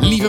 Lieve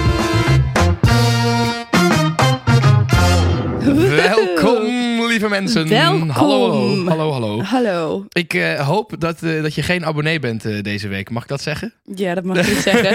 Welkom, lieve mensen. Welkom. Hallo, hallo, hallo. Hallo. Ik eh, hoop dat, eh, dat je geen abonnee bent eh, deze week. Mag ik dat zeggen? Ja, dat mag ik niet zeggen.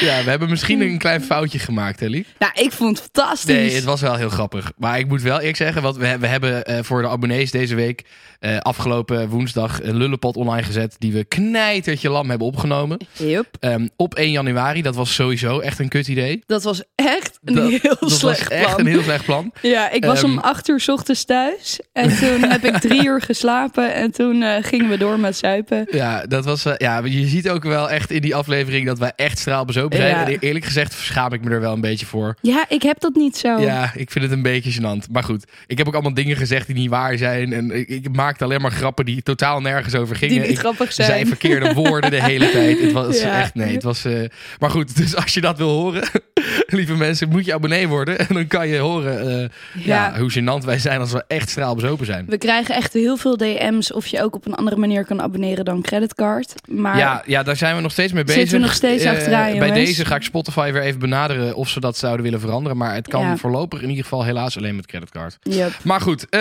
ja, we hebben misschien een klein foutje gemaakt, hè, lief? Nou, ik vond het fantastisch. Nee, het was wel heel grappig. Maar ik moet wel eerlijk zeggen, want we, we hebben eh, voor de abonnees deze week eh, afgelopen woensdag een lullenpad online gezet die we knijtertje lam hebben opgenomen. Yep. Ehm, op 1 januari, dat was sowieso echt een kut idee. Dat was echt een Dat- heel dat slecht was plan. echt een heel slecht plan. Ja, ik was Ehm. om acht uur 's ochtends thuis. En toen heb ik drie uur geslapen. En toen eh, gingen we door met zuipen. Ja, dat was, eh, ja, maar je ziet ook wel echt in die aflevering dat wij echt straalbezopen zijn. Ja. En eerlijk gezegd schaam ik me er wel een beetje voor. Ja, ik heb dat niet zo. Ja, ik vind het een beetje gênant. Maar goed, ik heb ook allemaal dingen gezegd die niet waar zijn. En ik, ik maakte alleen maar grappen die totaal nergens over gingen. die niet ik grappig zijn. zei verkeerde woorden de hele tijd. Het was Ja. echt, nee, het was... eh, Maar goed, dus als je dat wil horen, lieve mensen, moet je abonnee worden. En dan kan je horen eh, ja. Ja. hoe gênant wij zijn als we echt straalbezopen zijn. We krijgen echt heel veel DM's of je ook op een andere manier kan abonneren dan creditcard. Maar Ja, ja, daar zijn we nog steeds mee bezig. Zitten we nog steeds Eh, achteraan, Bij jongens? deze ga ik Spotify weer even benaderen of ze dat zouden willen veranderen. Maar het kan Ja. voorlopig in ieder geval helaas alleen met creditcard. yep. Maar goed, eh,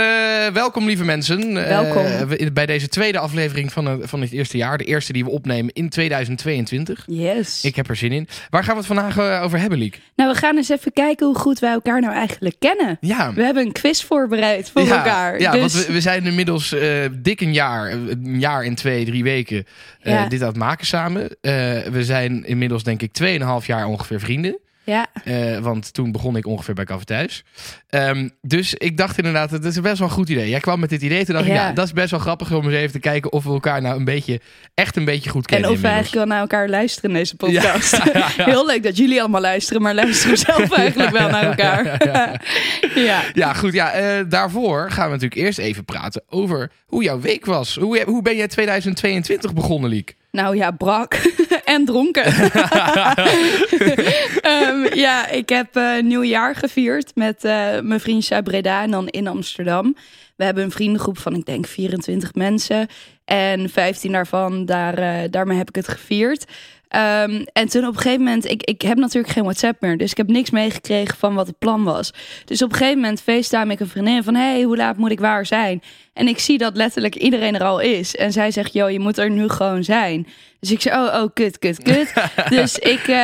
welkom lieve mensen. Eh, Welkom. we- bij deze tweede aflevering van, eh, van het eerste jaar. De eerste die we opnemen in 2022. yes. Ik heb er zin in. Waar gaan we het vandaag eh, over hebben, Liek? Nou, we gaan eens even kijken hoe goed wij elkaar nou eigenlijk kennen. Ja. We hebben een quiz voorbereid voor ja, elkaar. Ja, dus... want we, we zijn inmiddels eh, dik een jaar, eh, een jaar en twee, drie weken eh, Ja. dit aan het maken samen. Eh, we zijn inmiddels denk ik 2,5 jaar ongeveer vrienden. ja. Eh, want toen begon ik ongeveer bij Kaffe Thuis. Ehm, dus ik dacht inderdaad, het is best wel een goed idee. Jij kwam met dit idee, toen dacht ik, Ja. ja, dat is best wel grappig om eens even te kijken of we elkaar nou een beetje, echt een beetje goed En kennen. of we inmiddels. eigenlijk wel naar elkaar luisteren in deze podcast. Heel leuk dat jullie allemaal luisteren, maar luisteren we zelf eigenlijk wel naar elkaar. Ja, Ja, goed. Ja, eh, daarvoor gaan we natuurlijk eerst even praten over hoe jouw week was. Hoe, hoe ben jij 2022 begonnen, Liek? Nou ja, brak en dronken. Ehm, ja, ik heb eh, nieuwjaar gevierd met eh, mijn vriendjes uit Breda en dan in Amsterdam. We hebben een vriendengroep van, ik denk, 24 mensen. En 15 daarvan, daar, eh, daarmee heb ik het gevierd. Ehm, en toen op een gegeven moment, ik, ik heb natuurlijk geen WhatsApp meer, dus ik heb niks meegekregen van wat het plan was. Dus op een gegeven moment facetime ik een vriendin van, hey, hoe laat moet ik waar zijn? En ik zie dat letterlijk iedereen er al is. En zij zegt, joh, je moet er nu gewoon zijn. Dus ik zei, oh, oh, kut, kut, kut. dus ik eh,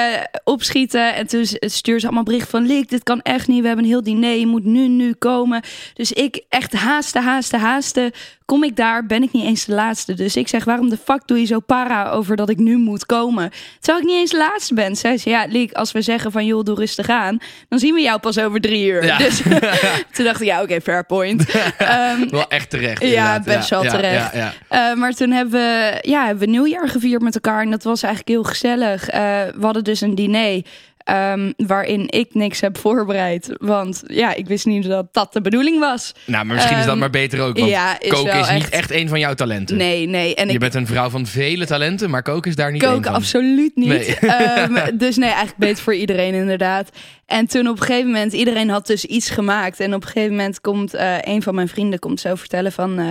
opschieten en toen stuurde ze allemaal bericht van, Lik, dit kan echt niet, we hebben een heel diner, je moet nu, nu komen. Dus ik echt haasten, haasten, haasten. Kom ik daar, ben ik niet eens de laatste. Dus ik zeg, waarom de fuck doe je zo para over dat ik nu moet komen? Terwijl ik niet eens de laatste ben. Zij zei, ja, Lik, als we zeggen van, joh, doe rustig aan, dan zien we jou pas over drie uur. Ja. Dus toen dacht ik, ja, oké, fair point. Ehm, Wel echt terecht. Ja, inderdaad. best wel terecht. Ja, ja. eh, maar toen hebben we, ja, hebben we nieuwjaar gevierd met elkaar. En dat was eigenlijk heel gezellig. Eh, we hadden dus een diner. ehm, waarin ik niks heb voorbereid. Want ja, ik wist niet dat dat de bedoeling was. Nou, maar misschien is dat Ehm, maar beter ook. Want ja, is koken wel is niet echt- echt een van jouw talenten. Nee, nee. En Je ik bent een vrouw van vele talenten, maar koken is daar niet één kook van. absoluut niet. Nee. Ehm, dus nee, eigenlijk beter voor iedereen inderdaad. En toen op een gegeven moment, iedereen had dus iets gemaakt. En op een gegeven moment komt eh, een van mijn vrienden komt zo vertellen van... eh,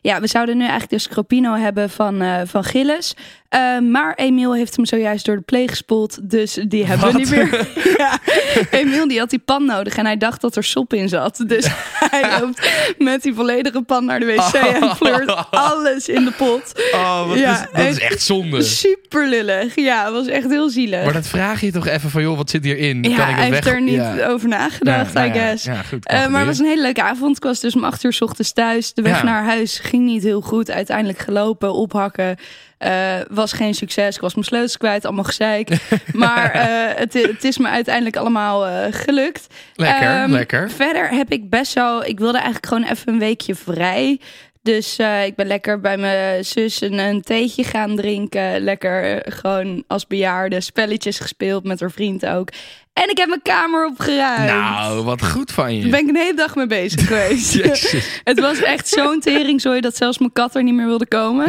ja, we zouden nu eigenlijk de Scropino hebben van, eh, van Gilles. Eh, maar Emiel heeft hem zojuist door de pleeg gespoeld. Dus die hebben we Wat? niet meer. ja. Emiel die had die pan nodig en hij dacht dat er sop in zat. Dus hij loopt met die volledige pan naar de wc en pleurt alles in de pot. Oh, wat Ja, is, dat is echt. echt zonde. Super lullig. Ja, was echt heel zielig. Maar dat vraag je toch even van, joh, wat zit hierin? ja, kan ik het hij weg... heeft er niet Ja. over nagedacht, Ja, nou I ja, guess. Ja, goed. Eh, maar het was een hele leuke avond. Ik was dus om acht uur 's ochtends thuis. De weg Ja. naar huis ging niet heel goed. Uiteindelijk gelopen, ophakken. Eh, was geen succes. Ik was mijn sleutels kwijt, allemaal gezeik. maar eh, het, het is me uiteindelijk allemaal eh, gelukt. Lekker, Ehm, lekker. Verder heb ik best wel... Ik wilde eigenlijk gewoon even een weekje vrij... Dus eh, ik ben lekker bij mijn zus een, een theetje gaan drinken. Lekker eh, gewoon als bejaarde. Spelletjes gespeeld met haar vriend ook. En ik heb mijn kamer opgeruimd. Nou, wat goed van Daar je. ben ik een hele dag mee bezig geweest. Jezus. Het was echt zo'n teringzooi dat zelfs mijn kat er niet meer wilde komen.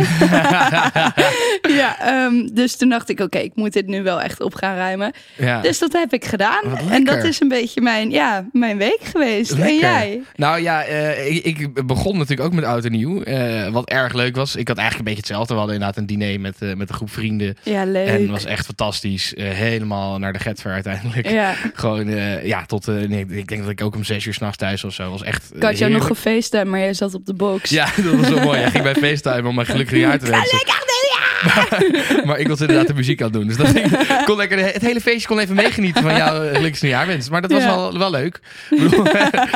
ja, ehm, dus toen dacht ik, oké, ik moet dit nu wel echt op gaan ruimen. Ja. Dus dat heb ik gedaan. Wat En dat lekker. is een beetje mijn, ja, mijn week geweest. En Lekker. jij? Nou ja, eh, ik, ik begon natuurlijk ook met oud en nieuw. eh, wat erg leuk was. Ik had eigenlijk een beetje hetzelfde. We hadden inderdaad een diner met, eh, met een groep vrienden. Ja, leuk. En het was echt fantastisch. Eh, helemaal naar de getver uiteindelijk. Ja. Gewoon, eh, ja, tot... eh, nee, ik denk dat ik ook om zes uur s'nachts thuis was of zo. was echt eh, Ik had jou heerlijk. nog gefeest, maar jij zat op de box. Ja, dat was wel mooi. Hij ging bij FaceTime om mij gelukkig jaar te wensen. Maar, maar ik was inderdaad de muziek aan het doen. Dus dat ging, kon lekker, het hele feestje kon even meegenieten van jouw eh, gelukkig nieuwjaarwens. Maar dat was Ja. wel, wel leuk. Ik bedoel,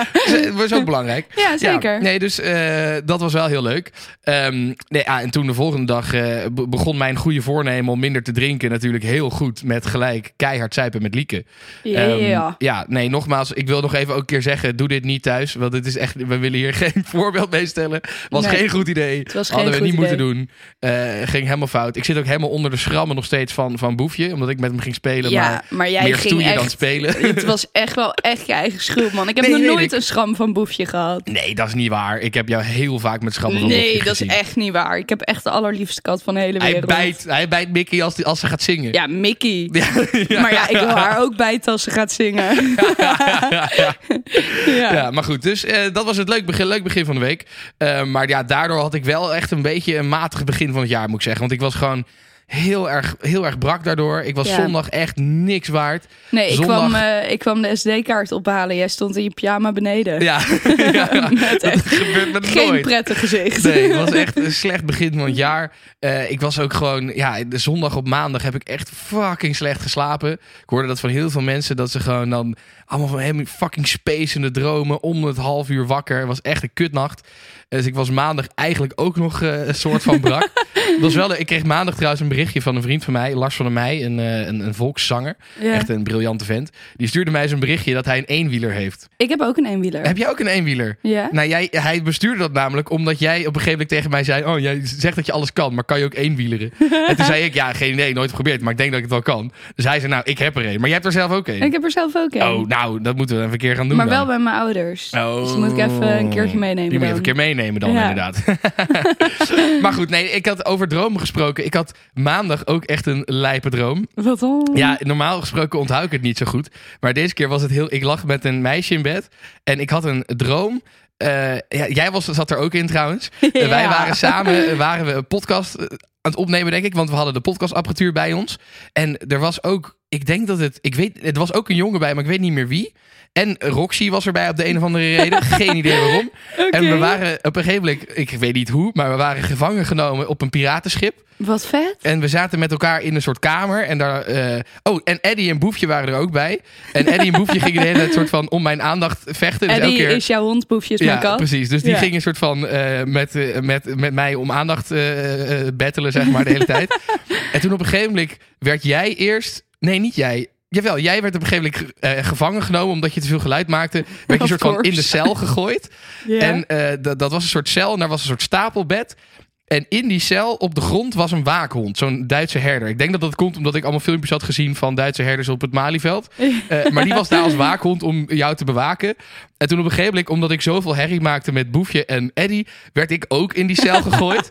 Het was ook belangrijk. Ja, zeker. Ja, nee, dus eh, dat was wel heel leuk. Ehm, nee, ah, en toen de volgende dag eh, be- begon mijn goede voornemen om minder te drinken natuurlijk heel goed. Met gelijk keihard zuipen met Lieke. Ehm, Ja. ja, nee, nogmaals, ik wil nog even ook een keer zeggen: doe dit niet thuis. Want dit is echt, we willen hier geen voorbeeld mee stellen. Was Nee. geen goed idee. was geen Hadden we goed niet idee. moeten doen. Eh, ging helemaal fout. Ik zit ook helemaal onder de schrammen nog steeds van, van Boefje. Omdat ik met hem ging spelen. Ja, maar maar jij meer ging stoeien echt... dan spelen. Het was echt wel echt je eigen schuld, man. Ik heb Nee, nog weet nooit ik. een schram van boefje gehad. Nee, dat is niet waar. Ik heb jou heel vaak met schrammen van Nee, Boefje dat is gezien. echt niet waar. Ik heb echt de allerliefste kat van de hele Hij wereld. bijt, hij bijt Mickey als, die- als ze gaat zingen. Ja, Mickey. Ja, ja. Maar ja, ik wil haar ook bijten als ze gaat zingen. ja. Ja, maar goed, dus eh, dat was het leuk begin, leuk begin van de week. Eh, maar ja, daardoor had ik wel echt een beetje een matig begin van het jaar, moet ik zeggen. Want ik was gewoon heel erg, heel erg brak daardoor. Ik was Ja. zondag echt niks waard. Nee, ik Zondag- kwam, eh, ik kwam de SD-kaart ophalen. Jij stond in je pyjama beneden. Ja, ja Met dat echt gebeurt me geen nooit. prettig gezicht. Nee, het was echt een slecht begin van het jaar. Eh, ik was ook gewoon, ja, de zondag op maandag heb ik echt fucking slecht geslapen. Ik hoorde dat van heel veel mensen, dat ze gewoon dan allemaal van helemaal fucking spacende dromen, om het half uur wakker. Het was echt een kutnacht. Dus ik was maandag eigenlijk ook nog eh, een soort van brak. Het was wel, leuk. ik kreeg maandag trouwens een berichtje van een vriend van mij, Lars van der Meij, een, eh, een, een volkszanger. Ja. Echt een briljante vent. Die stuurde mij zo'n berichtje dat hij een eenwieler heeft. Ik heb ook een eenwieler. Heb jij ook een eenwieler? Ja? Nou, jij, hij bestuurde dat namelijk omdat jij op een gegeven moment tegen mij zei: Oh, jij zegt dat je alles kan, maar kan je ook eenwieleren? en toen zei ik: Ja, geen idee, nooit geprobeerd, maar ik denk dat ik het wel kan. Dus hij zei: Nou, ik heb er een, maar jij hebt er zelf ook een. Ik heb er zelf ook een. Oh, nou, dat moeten we even een keer gaan doen. maar dan. wel bij mijn ouders. Oh. Dus die moet ik even een keertje meenemen Die moet je even dan. een keer meenemen dan, Ja. inderdaad. maar goed, nee, ik had over dromen gesproken. Ik had maandag ook echt een lijpe droom. Wat dan? Ja, normaal gesproken onthoud ik het niet zo goed. Maar deze keer was het heel... Ik lag met een meisje in bed en ik had een droom. Eh, ja, jij was, zat er ook in trouwens. Eh, wij Ja. waren samen eh, waren we een podcast eh, aan het opnemen, denk ik. Want we hadden de podcastapparatuur bij ons. En er was ook... Ik denk dat het... Ik weet, het was ook een jongen bij, maar ik weet niet meer wie. En Roxy was erbij op de een of andere reden. Geen idee waarom. En we Oké. waren op een gegeven moment... Ik weet niet hoe, maar we waren gevangen genomen op een piratenschip. Wat vet. En we zaten met elkaar in een soort kamer. En daar. eh, oh, en Eddie en Boefje waren er ook bij. En Eddie en Boefje gingen de hele tijd soort van om mijn aandacht vechten. Dus Eddie elke keer. is jouw hond, Boefje is mijn ja, kat. precies. Dus die Ja. gingen een soort van eh, met, eh, met, met mij om aandacht eh, eh, battelen, zeg maar, de hele tijd. En toen op een gegeven moment werd jij eerst. Nee, niet jij. Jawel, jij werd op een gegeven moment eh, gevangen genomen omdat je te veel geluid maakte. Werd je een Of soort van course. in de cel gegooid. Ja. En eh, dat- dat was een soort cel en daar was een soort stapelbed. En in die cel op de grond was een waakhond, zo'n Duitse herder. Ik denk dat dat komt omdat ik allemaal filmpjes had gezien van Duitse herders op het Malieveld. Eh, maar die was daar als waakhond om jou te bewaken. En toen op een gegeven moment, omdat ik zoveel herrie maakte met Boefje en Eddy, werd ik ook in die cel gegooid.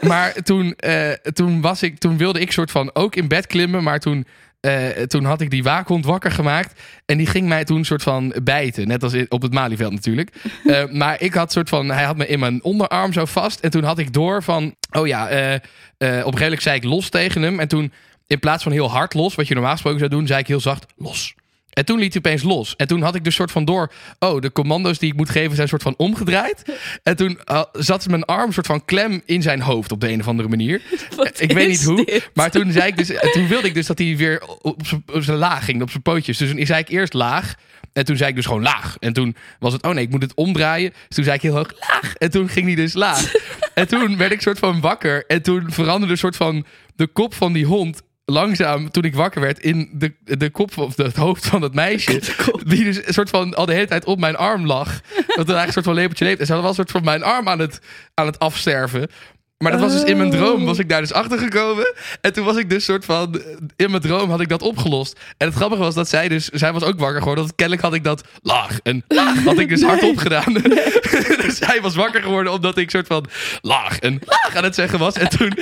Maar toen, eh, toen, was ik, toen wilde ik soort van ook in bed klimmen. Maar toen, eh, toen had ik die waakhond wakker gemaakt. En die ging mij toen soort van bijten. Net als in- op het Malieveld natuurlijk. Eh, maar ik had soort van... Hij had me in mijn onderarm zo vast. En toen had ik door van... Oh ja, eh, eh, op een gegeven moment zei ik los tegen hem. En toen in plaats van heel hard los, wat je normaal gesproken zou doen, zei ik heel zacht los. En toen liet hij opeens los. En toen had ik dus soort van door... Oh, de commando's die ik moet geven zijn soort van omgedraaid. En toen eh, zat mijn arm soort van klem in zijn hoofd op de een of andere manier. Wat ik weet is niet hoe. dit? Maar toen, zei ik dus, eh, toen wilde ik dus dat hij weer op z'n- op zijn laag ging, op zijn pootjes. Dus toen zei ik eerst laag. En toen zei ik dus gewoon laag. En toen was het, oh nee, ik moet het omdraaien. Dus toen zei ik heel hoog, laag. En toen ging hij dus laag. En toen werd ik soort van wakker. En toen veranderde soort van de kop van die hond langzaam, toen ik wakker werd, in de, de kop of de- het hoofd van dat meisje. Die dus een soort van al de hele tijd op mijn arm lag. Dat er eigenlijk een soort van lepeltje leeft. En ze hadden wel een soort van mijn arm aan het, aan het afsterven. Maar dat was dus in mijn Oh. droom, was ik daar dus achter gekomen. En toen was ik dus soort van, in mijn droom had ik dat opgelost. En het grappige was dat zij dus, zij was ook wakker geworden. Want kennelijk had ik dat laag en laag had ik dus hardop gedaan. dus zij was wakker geworden omdat ik soort van laag en laag aan het zeggen was. En toen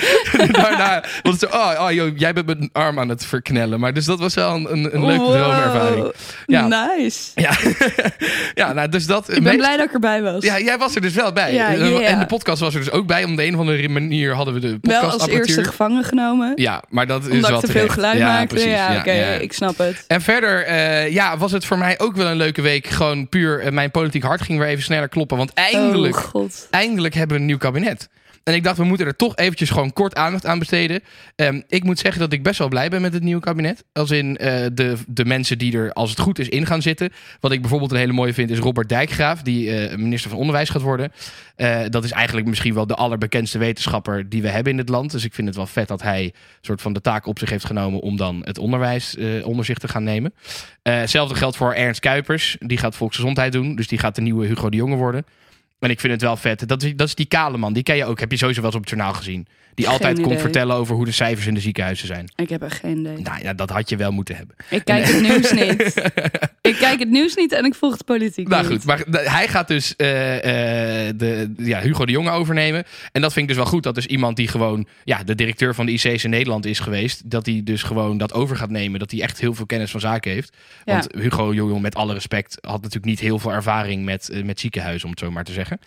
daarna was het zo, oh, oh joh, jij bent mijn arm aan het verknellen. Maar dus dat was wel een, een, een leuke Wow. droomervaring. Ja. Nice. Ja, ja nou dus dat. Ik ben blij dat ik erbij was. Ja, jij was er dus wel bij. Ja, Eh, ja, ja. En de podcast was er dus ook bij. Om de een of andere manier hadden we de Wel podcast als eerste gevangen genomen. Ja, maar dat is Omdat wel ik te veel terecht. geluid ja, maakte. Precies, ja, ja, oké, ja. ik snap het. En verder eh, ja, was het voor mij ook wel een leuke week. Gewoon puur eh, mijn politiek hart ging weer even sneller kloppen. Want eindelijk, Oh, god. eindelijk hebben we een nieuw kabinet. En ik dacht, we moeten er toch eventjes gewoon kort aandacht aan besteden. Ehm, ik moet zeggen dat ik best wel blij ben met het nieuwe kabinet. Als in eh, de, de mensen die er, als het goed is, in gaan zitten. Wat ik bijvoorbeeld een hele mooie vind, is Robert Dijkgraaf, die eh, minister van Onderwijs gaat worden. Eh, dat is eigenlijk misschien wel de allerbekendste wetenschapper die we hebben in het land. Dus ik vind het wel vet dat hij soort van de taak op zich heeft genomen om dan het onderwijs eh, onder zich te gaan nemen. Eh, hetzelfde geldt voor Ernst Kuipers, die gaat volksgezondheid doen. Dus die gaat de nieuwe Hugo de Jonge worden. En ik vind het wel vet. Dat is, dat is die kale man. Die ken je ook. Heb je sowieso wel eens op het journaal gezien. Die Geen altijd komt idee. vertellen over hoe de cijfers in de ziekenhuizen zijn. Ik heb er geen idee. Nou ja, dat had je wel moeten hebben. Ik kijk het nieuws niet. ik kijk het nieuws niet en ik volg de politiek Nou niet. goed, maar de- hij gaat dus eh, eh, de, ja, Hugo de Jonge overnemen. En dat vind ik dus wel goed. Dat dus iemand die gewoon ja, de directeur van de IC's in Nederland is geweest. Dat hij dus gewoon dat over gaat nemen. Dat hij echt heel veel kennis van zaken heeft. Ja. Want Hugo de Jonge, met alle respect, had natuurlijk niet heel veel ervaring met, eh, met ziekenhuizen, om het zo maar te zeggen.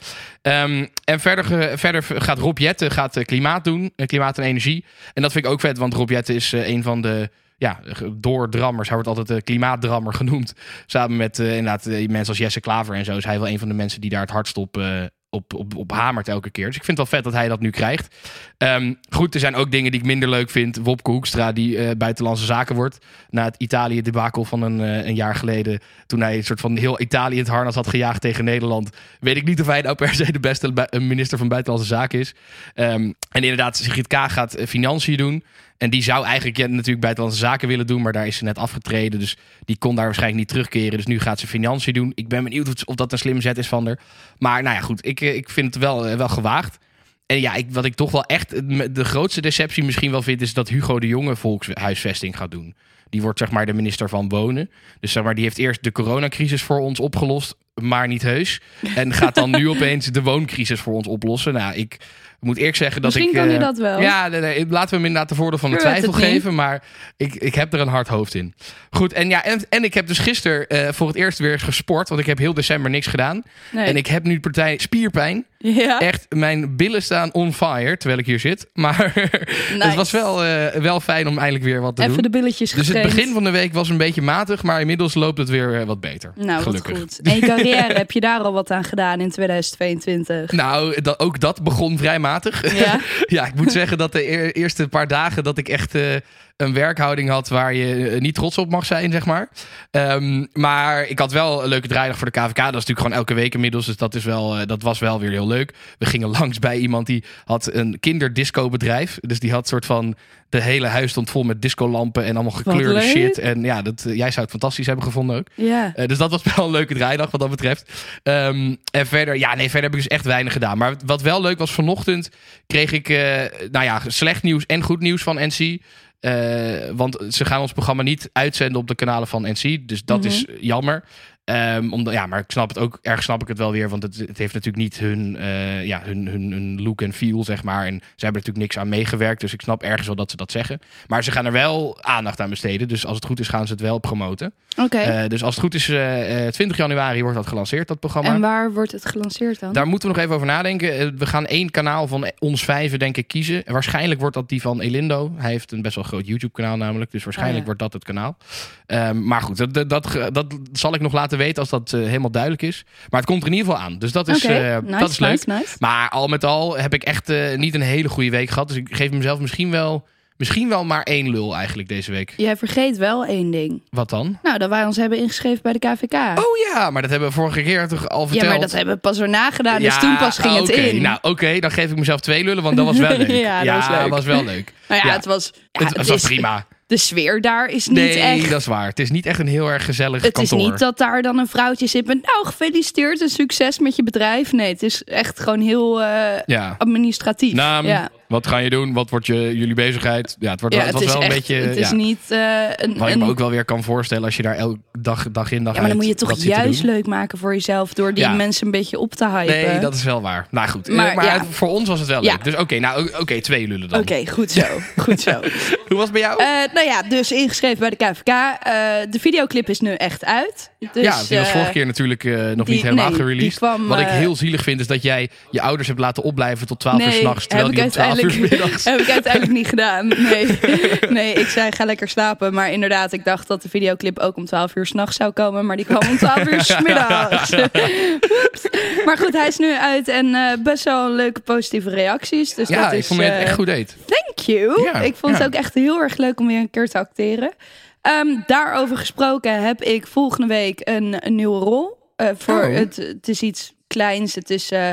Ehm, en verder, ge- verder gaat Rob Jetten gaat, eh, klimaat doen. eh, klimaat en energie. En dat vind ik ook vet, want Rob Jetten is eh, een van de ja, ge- doordrammers. Hij wordt altijd de klimaatdrammer genoemd. Samen met eh, inderdaad eh, mensen als Jesse Klaver en zo. Is hij wel een van de mensen die daar het hardst op, eh, op, op, op hamert elke keer. Dus ik vind het wel vet dat hij dat nu krijgt. Ehm, goed, er zijn ook dingen die ik minder leuk vind. Wopke Hoekstra, die eh, buitenlandse zaken wordt. Na het Italië-debakel van een, eh, een jaar geleden. Toen hij een soort van heel Italië het harnas had gejaagd tegen Nederland. Weet ik niet of hij nou per se de beste bui- eh, minister van Buitenlandse Zaken is. Ehm, en inderdaad, Sigrid K. gaat eh, financiën doen. En die zou eigenlijk ja, natuurlijk buitenlandse zaken willen doen, maar daar is ze net afgetreden. Dus die kon daar waarschijnlijk niet terugkeren. Dus nu gaat ze financiën doen. Ik ben benieuwd of- of dat een slim zet is van haar. Maar nou ja, goed, ik, eh, ik vind het wel, eh, wel gewaagd. En ja, ik, wat ik toch wel echt het me- de grootste deceptie misschien wel vind, is dat Hugo de Jonge volkshuisvesting gaat doen. Die wordt zeg maar de minister van Wonen. Dus zeg maar, die heeft eerst de coronacrisis voor ons opgelost, maar niet heus. En gaat dan nu opeens de wooncrisis voor ons oplossen. Nou, ik moet eerlijk zeggen dat Misschien ik... kan hij eh, dat wel. Ja, nee, nee, laten we hem inderdaad de voordeel van de Ik weet het twijfel niet. geven. Maar ik, ik heb er een hard hoofd in. Goed, en, ja, en, en ik heb dus gisteren eh, voor het eerst weer gesport. Want ik heb heel december niks gedaan. Nee. En ik heb nu partij spierpijn. ja. Echt, mijn billen staan on fire terwijl ik hier zit. Maar het was wel, eh, wel fijn om eindelijk weer wat te Even doen. de billetjes dus het getraind. begin van de week was een beetje matig. Maar inmiddels loopt het weer eh, wat beter. Nou, Gelukkig. wat goed. En je carrière, heb je daar al wat aan gedaan in 2022? Nou, dat, ook dat begon vrij matig. Ja? Ja, ik moet zeggen dat de eer- eerste paar dagen dat ik echt eh, een werkhouding had waar je eh, niet trots op mag zijn, zeg maar. Ehm, maar ik had wel een leuke draaidag voor de KVK. Dat is natuurlijk gewoon elke week inmiddels. Dus dat, is wel, eh, dat was wel weer heel leuk. We gingen langs bij iemand die had een kinderdisco-bedrijf. Dus die had soort van de hele huis stond vol met discolampen en allemaal gekleurde leuk. shit. En ja, dat, eh, jij zou het fantastisch hebben gevonden ook. Ja. Eh, dus dat was wel een leuke draaidag wat dat betreft. Ehm, en verder, ja, nee, verder heb ik dus echt weinig gedaan. Maar wat wel leuk was, vanochtend kreeg ik, eh, nou ja, slecht nieuws en goed nieuws van NC. Eh, want ze gaan ons programma niet uitzenden op de kanalen van NC. Dus dat is jammer. Ehm, omdat, ja, maar ik snap het ook, erg snap ik het wel weer. Want het, het heeft natuurlijk niet hun, eh, ja, hun, hun, hun look en feel, zeg maar. En ze hebben er natuurlijk niks aan meegewerkt. Dus ik snap ergens wel dat ze dat zeggen. Maar ze gaan er wel aandacht aan besteden. Dus als het goed is, gaan ze het wel promoten. Oké. Eh, dus als het goed is, eh, eh, 20 januari wordt dat gelanceerd, dat programma. en waar wordt het gelanceerd dan? Daar moeten we nog even over nadenken. Eh, we gaan één kanaal van ons vijven, denk ik, kiezen. En waarschijnlijk wordt dat die van Elindo. Hij heeft een best wel groot YouTube-kanaal namelijk. Dus waarschijnlijk Ah, ja. wordt dat het kanaal. Ehm, maar goed, dat, dat, dat, ge- dat zal ik nog laten weten als dat eh, helemaal duidelijk is. Maar het komt er in ieder geval aan. Dus dat is, Oké, eh, nice, dat is leuk. nice, nice. Maar al met al heb ik echt eh, niet een hele goede week gehad. Dus ik geef mezelf misschien wel, misschien wel maar één lul eigenlijk deze week. Jij vergeet wel één ding. Wat dan? Nou, dat wij ons hebben ingeschreven bij de KVK. Oh ja, maar dat hebben we vorige keer toch al verteld. ja, maar dat hebben we pas weer nagedaan, dus toen pas ging oké. het in. Nou, oké, dan geef ik mezelf twee lullen, want dat was wel leuk. Ja, dat was leuk. wel leuk. nou ja, ja. het was... ja, het, het was is- prima. de sfeer daar is niet nee, echt... dat is waar. Het is niet echt een heel erg gezellig Het kantoor. is niet dat daar dan een vrouwtje zit met... nou, gefeliciteerd en succes met je bedrijf. Nee, het is echt gewoon heel eh, Ja. administratief. Naam, ja. wat gaan je doen? Wat wordt je, jullie bezigheid? Ja, het wordt Ja, wel, het was is wel echt- een beetje... Het is ja. niet eh, een... Wat ik een- me ook wel weer kan voorstellen als je daar elke dag, dag in dag ja, maar dan uit moet je het toch dat zit te juist doen. leuk maken voor jezelf... door die Ja. mensen een beetje op te hypen. Nee, dat is wel waar. Nou goed, Eh, maar, Maar ja. voor ons was het wel leuk. Ja. Dus oké, nou, oké, twee lullen dan. Oké, goed zo. Goed zo. Hoe was het bij jou? Eh, nou ja, dus ingeschreven bij de KVK. Eh, de videoclip is nu echt uit. Dus, ja, die was eh, vorige keer natuurlijk eh, nog die- niet helemaal nee, gereleased. die kwam, Wat ik eh, heel zielig vind, is dat jij je ouders hebt laten opblijven tot 12 uur nee, s'nachts. Terwijl heb die ik om 12 uur 's uiteindelijk- middags... Heb ik uiteindelijk niet gedaan. Nee. nee, ik zei ga lekker slapen. Maar inderdaad, ik dacht dat de videoclip ook om 12 uur s'nachts zou komen. Maar die kwam om 12 uur s'middags. Oeps. maar goed, hij is nu uit en eh, best wel leuke positieve reacties. Dus Ja, dat ik is, vond me eh, echt goed deed. Thank you. Ja, ik vond ja. het ook echt heel erg leuk om weer een keer te acteren. Ehm, daarover gesproken heb ik volgende week een, een nieuwe rol. Eh, voor Oh. het, het is iets kleins. Het is, eh,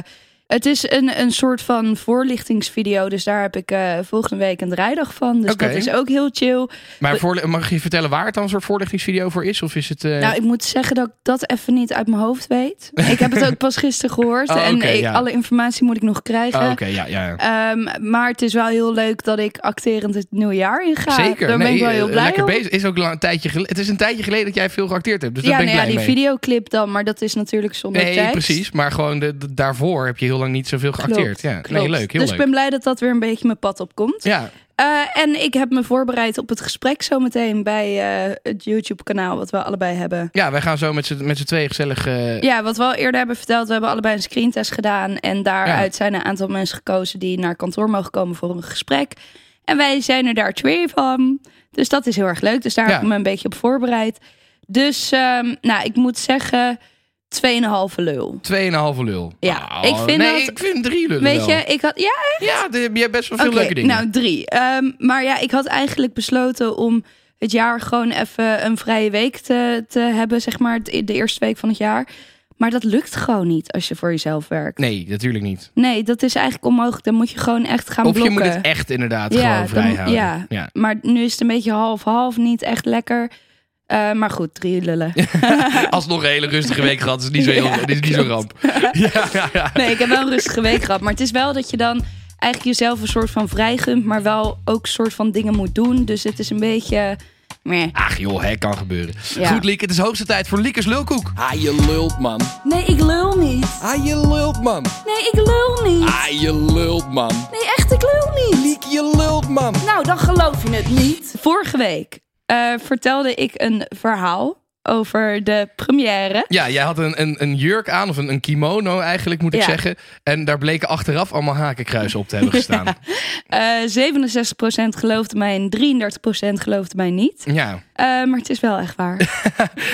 het is een, een soort van voorlichtingsvideo. Dus daar heb ik eh, volgende week een draaidag van. Dus Oké. dat is ook heel chill. Maar voor, mag je vertellen waar het dan een soort voorlichtingsvideo voor is? Of is het... eh, Nou, ik moet zeggen dat ik dat even niet uit mijn hoofd weet. Ik heb het ook pas gisteren gehoord. Oh, en oké, ik- ja. alle informatie moet ik eh, nog krijgen. oh, Oké, ja, ja. ja. Ehm, maar het is wel heel leuk dat ik acterend het nieuwe jaar in ga. Zeker. Daar ben nee, ik wel heel eh, blij lekker om. bezig. Is ook lang een tijdje gele- Het is een tijdje geleden dat jij veel geacteerd hebt. Dus ja, daar ben ik nou ja, blij die mee. videoclip dan, maar dat is natuurlijk zonder Nee, tekst. precies. Maar gewoon de, de- daarvoor heb je heel lang niet zoveel Klopt, geacteerd. ja. Nee, klopt. leuk. dus Heel leuk. ik ben blij dat dat weer een beetje mijn pad opkomt. Ja, Eh, en ik heb me voorbereid op het gesprek zometeen bij eh, het YouTube-kanaal wat we allebei hebben. ja, wij gaan zo met z'n met z'n tweeën gezellig... eh, Ja, wat we al eerder hebben verteld, we hebben allebei een screentest gedaan. En daaruit zijn een aantal mensen gekozen die naar kantoor mogen komen voor een gesprek. En wij zijn er daar twee van. Dus dat is heel erg leuk. Dus daar Ja. heb ik me een beetje op voorbereid. Dus, ehm, nou, ik moet zeggen, 2,5 lul. Tweeënhalve lul. Ja, Nou, ik vind nee, dat- ik vind drie lullen Weet wel. je, ik had. Ja, Ja, de- je hebt best wel veel oké, leuke dingen. Nou, drie. Ehm, maar ja, ik had eigenlijk besloten om het jaar gewoon even een vrije week te, te hebben, zeg maar, de de eerste week van het jaar. Maar dat lukt gewoon niet als je voor jezelf werkt. Nee, natuurlijk niet. Nee, dat is eigenlijk onmogelijk. Dan moet je gewoon echt gaan Of je blokken. moet het echt inderdaad Ja, gewoon dan- vrij houden. ja. Maar nu is het een beetje half-half, niet echt lekker. Eh, maar goed, drie lullen. Alsnog een hele rustige week gehad. Is niet zo, heel, is niet zo ramp. Ja, ja, ja. Nee, ik heb wel een rustige week gehad. Maar het is wel dat je dan eigenlijk jezelf een soort van vrijgunt, maar wel ook een soort van dingen moet doen. Dus het is een beetje. Meh. Ach joh, hè, kan gebeuren. Ja. Goed, Liek, het is hoogste tijd voor Liekers Lulkoek. Ah, je lult, man. Nee, ik lul niet. Ah, je lult, man. Nee, ik lul niet. Ah, je lult, man. Nee, echt, ik lul niet. Liek, je lult, man. Nou, dan geloof je het niet. Vorige week eh, vertelde ik een verhaal over de première. Ja, jij had een, een, een jurk aan, of een, een kimono eigenlijk, moet ik Ja. zeggen. En daar bleken achteraf allemaal hakenkruisen op te hebben gestaan. Eh 67% geloofde mij en 33% geloofde mij niet. Ja. Eh, maar het is wel echt waar.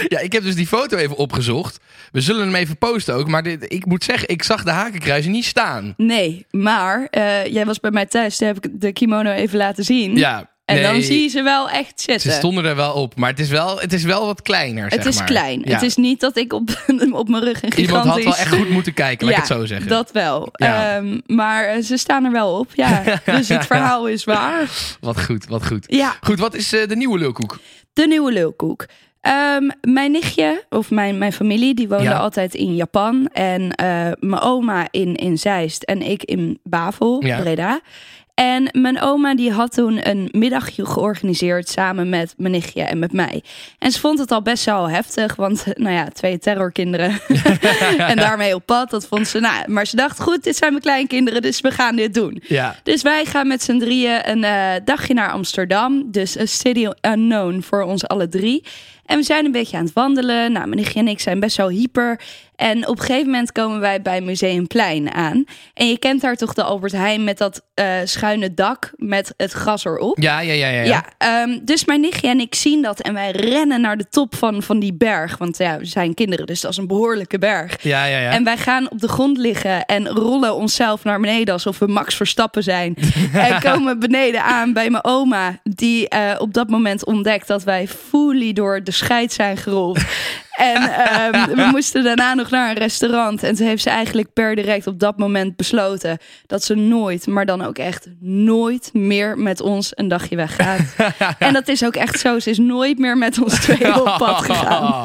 ja, ik heb dus die foto even opgezocht. We zullen hem even posten ook. Maar dit, ik moet zeggen, ik zag de hakenkruisen niet staan. Nee, maar eh, jij was bij mij thuis, toen heb ik de kimono even laten zien. Ja, Hm. en dan nee, zie je ze wel echt Ze zitten. stonden er wel op, maar het is wel, het is wel wat kleiner. het is klein. Het is niet dat ik op, op mijn rug een gigantisch... Iemand had wel echt goed moeten kijken, laat ja, ik het zo zeggen. dat wel. Ja. Ehm, maar eh, ze staan er wel op, ja. dus het verhaal is waar. Wat goed, wat goed. Ja. Goed, wat is eh, de nieuwe lulkoek? De nieuwe lulkoek. Ehm, mijn nichtje, of mijn, mijn familie, die woonde Ja. altijd in Japan. En eh, mijn oma in, in Zeist en ik in Bavel, Ja. Breda. En mijn oma die had toen een middagje georganiseerd samen met mijn nichtje en met mij. En ze vond het al best wel heftig, want nou ja, twee terrorkinderen en daarmee op pad. Dat vond ze, nou, maar ze dacht, goed, dit zijn mijn kleinkinderen, dus we gaan dit doen. Ja. Dus wij gaan met z'n drieën een eh, dagje naar Amsterdam. Dus een city unknown voor ons alle drie. En we zijn een beetje aan het wandelen. Nou, mijn nichtje en ik zijn best wel hyper. En op een gegeven moment komen wij bij Museumplein aan. En je kent daar toch de Albert Heijn met dat eh, schuine dak met het gras erop. Ja, ja, ja, ja. ja. Ja, ehm, dus mijn nichtje en ik zien dat en wij rennen naar de top van, van die berg. Want ja, we zijn kinderen, dus dat is een behoorlijke berg. Ja, ja, ja. En wij gaan op de grond liggen en rollen onszelf naar beneden alsof we Max Verstappen zijn. en komen beneden aan bij mijn oma, die eh, op dat moment ontdekt dat wij fully door de scheid zijn gerold. En ehm, we moesten daarna nog naar een restaurant. En toen heeft ze eigenlijk per direct op dat moment besloten dat ze nooit, maar dan ook echt nooit meer met ons een dagje weggaat. en dat is ook echt zo. Ze is nooit meer met ons twee op pad gegaan. Oh,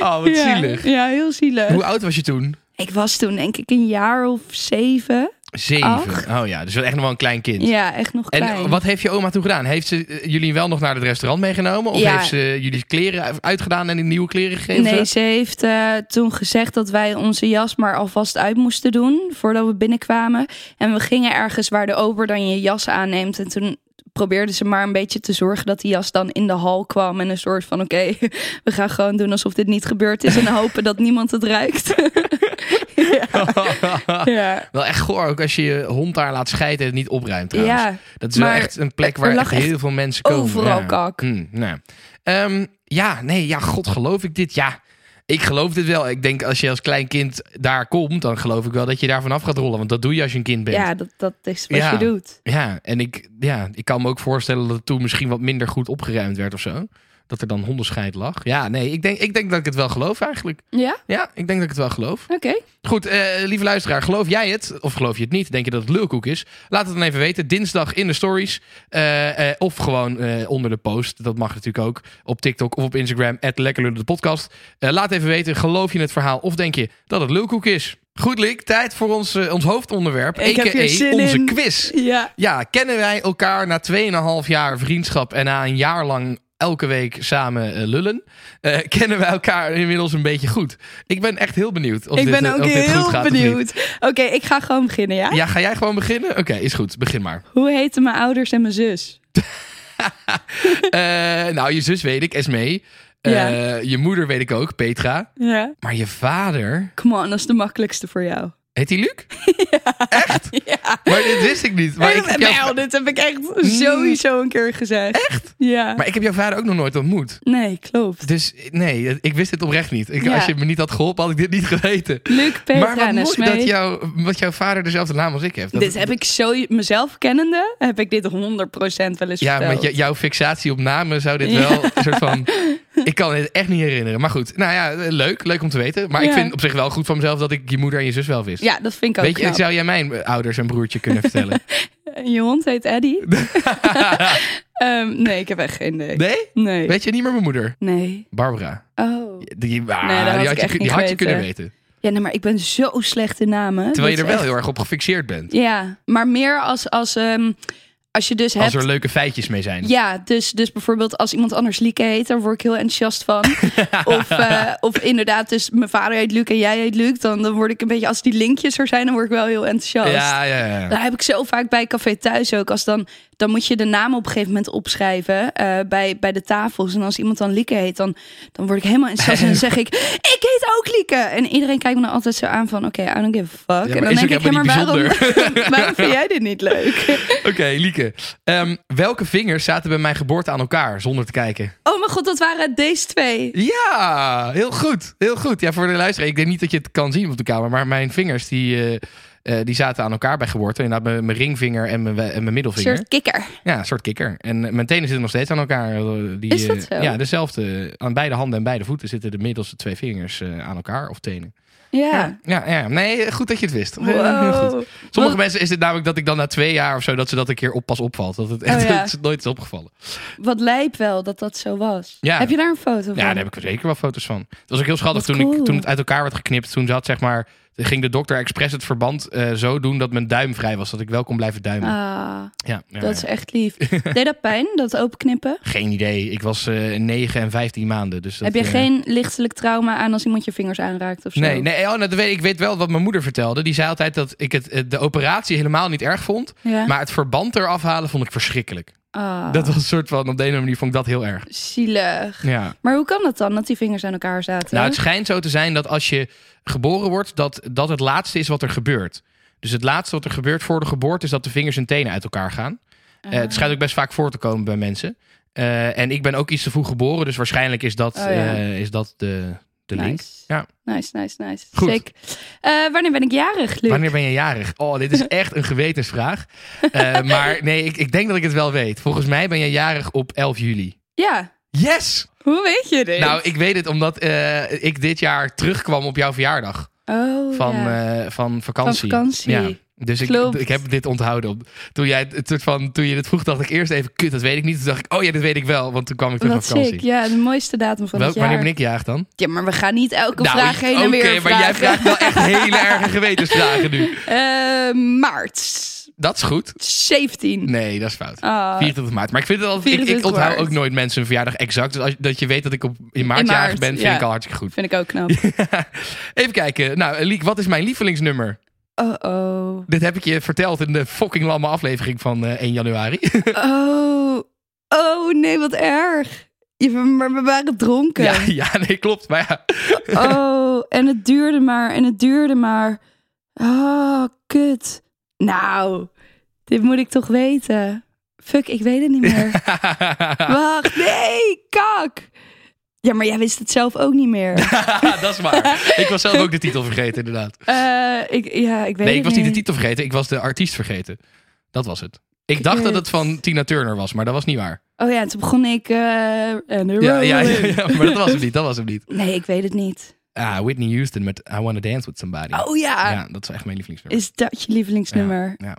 oh, wat ja, zielig. Ja, heel zielig. Hoe oud was je toen? Ik was toen denk ik een jaar of zeven. Zeven. Acht. Oh ja, dus wel echt nog wel een klein kind. Ja, echt nog En klein. wat heeft je oma toen gedaan? Heeft ze eh, jullie wel nog naar het restaurant meegenomen? Of Ja. heeft ze jullie kleren uitgedaan en die nieuwe kleren gegeven? Nee, ze heeft eh, toen gezegd dat wij onze jas maar alvast uit moesten doen voordat we binnenkwamen. En we gingen ergens waar de ober dan je jas aanneemt. En toen probeerde ze maar een beetje te zorgen dat die jas dan in de hal kwam. En een soort van, oké, we gaan gewoon doen alsof dit niet gebeurd is. En hopen dat niemand het ruikt. ja. Ja. Wel echt goor, ook als je je hond daar laat scheiden en het niet opruimt trouwens. ja, Dat is wel maar echt een plek er waar lag echt echt heel veel mensen komen. overal ja. kak. Hmm, nou. Ehm, ja, nee, ja, god, geloof ik dit? Ja, ik geloof dit wel. Ik denk als je als klein kind daar komt, dan geloof ik wel dat je daar vanaf gaat rollen. Want dat doe je als je een kind bent. ja dat, dat is wat Ja. je doet. Ja, en ik, ja, ik kan me ook voorstellen dat het toen misschien wat minder goed opgeruimd werd of zo. Dat er dan hondenscheid lag. Ja, nee, ik denk, ik denk dat ik het wel geloof eigenlijk. Ja, Ja, ik denk dat ik het wel geloof. oké. Goed, eh, lieve luisteraar, geloof jij het of geloof je het niet? Denk je dat het lulkoek is? Laat het dan even weten. Dinsdag in de stories. eh, eh, of gewoon eh, onder de post. Dat mag natuurlijk ook op TikTok of op Instagram. Lekkerlullen de podcast. Eh, laat even weten, geloof je het verhaal of denk je dat het lulkoek is? Goed, Lik, tijd voor ons, eh, ons hoofdonderwerp. Ik heb a.k.a. hier zin onze in. quiz. Ja. Ja, kennen wij elkaar na 2,5 jaar vriendschap en na een jaar lang elke week samen eh, lullen? eh, kennen wij elkaar inmiddels een beetje goed? Ik ben echt heel benieuwd. Of Ik dit, ben eh, ook of dit goed heel gaat of niet. benieuwd. Oké, ik ga gewoon beginnen, ja? Ja, ga jij gewoon beginnen? Oké, is goed. Begin maar. Hoe heten mijn ouders en mijn zus? Eh, nou, je zus weet ik, Esmee. Eh, Ja. Je moeder weet ik ook, Petra. Ja. Maar je vader... Come on, dat is de makkelijkste voor jou. Heet hij Luc? Echt? Maar dit wist ik niet. Maar ik, heb jouw- Nou, dit heb ik echt sowieso een keer gezegd. Echt? Ja. maar ik heb jouw vader ook nog nooit ontmoet. Nee, klopt. Dus nee, ik wist dit oprecht niet. Ik, Ja. Als je me niet had geholpen, had ik dit niet geweten. Luc, Petra maar wat en mooi Esmee. dat jouw, wat jouw vader dezelfde naam als ik heeft. Dat- Dit heb ik zo, mezelf kennende, heb ik dit 100% wel eens ja, verteld. met jou- jouw fixatie op namen zou dit Ja. wel een soort van... Ik kan het echt niet herinneren. Maar goed, nou ja, leuk. Leuk om te weten. Maar ik Ja. vind op zich wel goed van mezelf dat ik je moeder en je zus wel wist. Ja, dat vind ik ook Weet je, knap. zou jij mijn eh, ouders en broertje kunnen vertellen? En Je hond heet Eddy. Ehm, nee, ik heb echt geen idee. Nee? Nee. Weet je niet meer mijn moeder? Nee. Barbara. Oh. Die, ah, Nee, dat had die ik had, je, echt kun- die niet had je weten. kunnen weten. Ja, nee, maar ik ben zo slecht in namen. Terwijl je Dat is er wel echt- heel erg op gefixeerd bent. Ja, maar meer als, als, ehm, als je dus Als hebt... er leuke feitjes mee zijn. Ja, dus, dus bijvoorbeeld als iemand anders Lieke heet, daar word ik heel enthousiast van. of, eh, of inderdaad, dus mijn vader heet Luc en jij heet Luc. Dan, dan word ik een beetje, als die linkjes er zijn, dan word ik wel heel enthousiast. ja, ja. ja. Daar heb ik zo vaak bij Café Thuis ook. Als dan, dan moet je de naam op een gegeven moment opschrijven eh, bij, bij de tafels. En als iemand dan Lieke heet, dan, dan word ik helemaal enthousiast. En dan zeg ik, ik heet ook Lieke. En iedereen kijkt me dan altijd zo aan van, oké, I don't give a fuck. Ja, en maar dan is denk ik, ook ja, maar helemaal waarom, niet waarom vind jij dit niet leuk? Oké, Lieke. Ehm, welke vingers zaten bij mijn geboorte aan elkaar zonder te kijken? Oh mijn god, dat waren deze twee. Ja, heel goed. Heel goed. Ja, voor de luisteraar. Ik denk niet dat je het kan zien op de camera. Maar mijn vingers die, eh, eh, die zaten aan elkaar bij geboorte. Inderdaad, mijn, mijn ringvinger en mijn, we- en mijn Een middelvinger. soort kikker. Ja, een soort kikker. En eh, mijn tenen zitten nog steeds aan elkaar. eh, Die, Is dat eh, zo? Ja, dezelfde. Aan beide handen en beide voeten zitten de middelste twee vingers eh, aan elkaar. Of tenen. Ja. Ja, ja, nee, goed dat je het wist. Eh, Heel goed. Wow. Wat- Sommige mensen is het namelijk dat ik dan na twee jaar of zo... dat ze dat een keer op pas opvalt. Dat het echt Oh, ja. dat het nooit is opgevallen. Wat lijp wel dat dat zo was. Ja. Heb je daar een foto van? Ja, daar heb ik er zeker wel foto's van. Het was ook heel schattig Wat toen, ik, cool. toen het uit elkaar werd geknipt. Toen zat zeg maar, ging de dokter expres het verband eh, zo doen dat mijn duim vrij was. Dat ik wel kon blijven duimen. Ah, ja, ja, dat is ja. echt lief. Deed dat pijn, dat openknippen? Geen idee. Ik was eh 9 en 15 maanden. Dus dat, heb je eh, geen lichtelijk trauma aan als iemand je vingers aanraakt of zo? Nee, nee oh, nou, dat weet, ik weet wel wat mijn moeder vertelde. Die zei altijd dat ik het, eh, de operatie helemaal niet erg vond. Ja? Maar het verband eraf halen vond ik verschrikkelijk. Ah, Dat was een soort van, op de een of andere manier vond ik dat heel erg. zielig. Ja. Maar hoe kan dat dan, dat die vingers aan elkaar zaten? Nou, het schijnt zo te zijn dat als je geboren wordt, dat dat het laatste is wat er gebeurt. Dus het laatste wat er gebeurt voor de geboorte is dat de vingers en tenen uit elkaar gaan. Ah, Eh, het schijnt ook best vaak voor te komen bij mensen. Eh, en ik ben ook iets te vroeg geboren, dus waarschijnlijk is dat, Oh, ja. eh, is dat de, de nice. link. Ja. Nice, nice, nice. Goed. Sick. Eh, wanneer ben ik jarig, Luc? Wanneer ben je jarig? Oh, dit is echt een gewetensvraag. Eh, maar nee, ik, ik denk dat ik het wel weet. Volgens mij ben je jarig op 11 juli. Ja, Yes! Hoe weet je dit? Nou, ik weet het omdat eh, ik dit jaar terugkwam op jouw verjaardag. oh, van, ja. eh, van vakantie. Van vakantie. Ja. Dus ik, Klopt. ik heb dit onthouden. op- Toen, jij, het soort van, toen je dit vroeg, dacht ik eerst even, kut, dat weet ik niet. Toen dacht ik, oh ja, dat weet ik wel. Want toen kwam ik terug Wat van vakantie. sick. Ja, de mooiste datum van Welk, het jaar. wanneer ben ik jaag dan? Nou, Ja, maar we gaan niet elke vraag heen oké, en weer maar vragen. jij vraagt wel echt hele erge gewetensvragen nu. Eh, maart Dat is goed. 17. Nee, dat is fout. Ah, 24 maart. Maar ik vind het altijd, ik, ik 24 onthoud maart. ook nooit mensen hun verjaardag exact. Dus als, dat je weet dat ik op, in maart In jarig maart, ben, vind ja. ik al hartstikke goed. vind ik ook knap. Even kijken. Nou, Liek, wat is mijn lievelingsnummer? Oh, oh. Dit heb ik je verteld in de fucking lamme aflevering van eh, 1 januari. Oh, oh nee, wat erg. Je, maar we waren dronken. Ja, ja, nee, klopt. Maar ja, Oh, en het duurde maar, en het duurde maar. Oh, kut. Nou, dit moet ik toch weten. Fuck, ik weet het niet meer. Wacht, nee, kak. Ja, maar jij wist het zelf ook niet meer. dat is waar. Ik was zelf ook de titel vergeten, inderdaad. Eh, ik, ja, ik weet Nee, ik het was niet de titel vergeten. Ik was de artiest vergeten. Dat was het. Ik dacht dat het van Tina Turner was, maar dat was niet waar. Oh ja, toen begon ik... eh, en de Ja, ja, ja, rolling. ja, maar dat was hem niet. Dat was hem niet. Nee, ik weet het niet. Ah, Whitney Houston met I Wanna Dance With Somebody. Oh ja, Ja, dat is echt mijn lievelingsnummer. is dat je lievelingsnummer? Ja.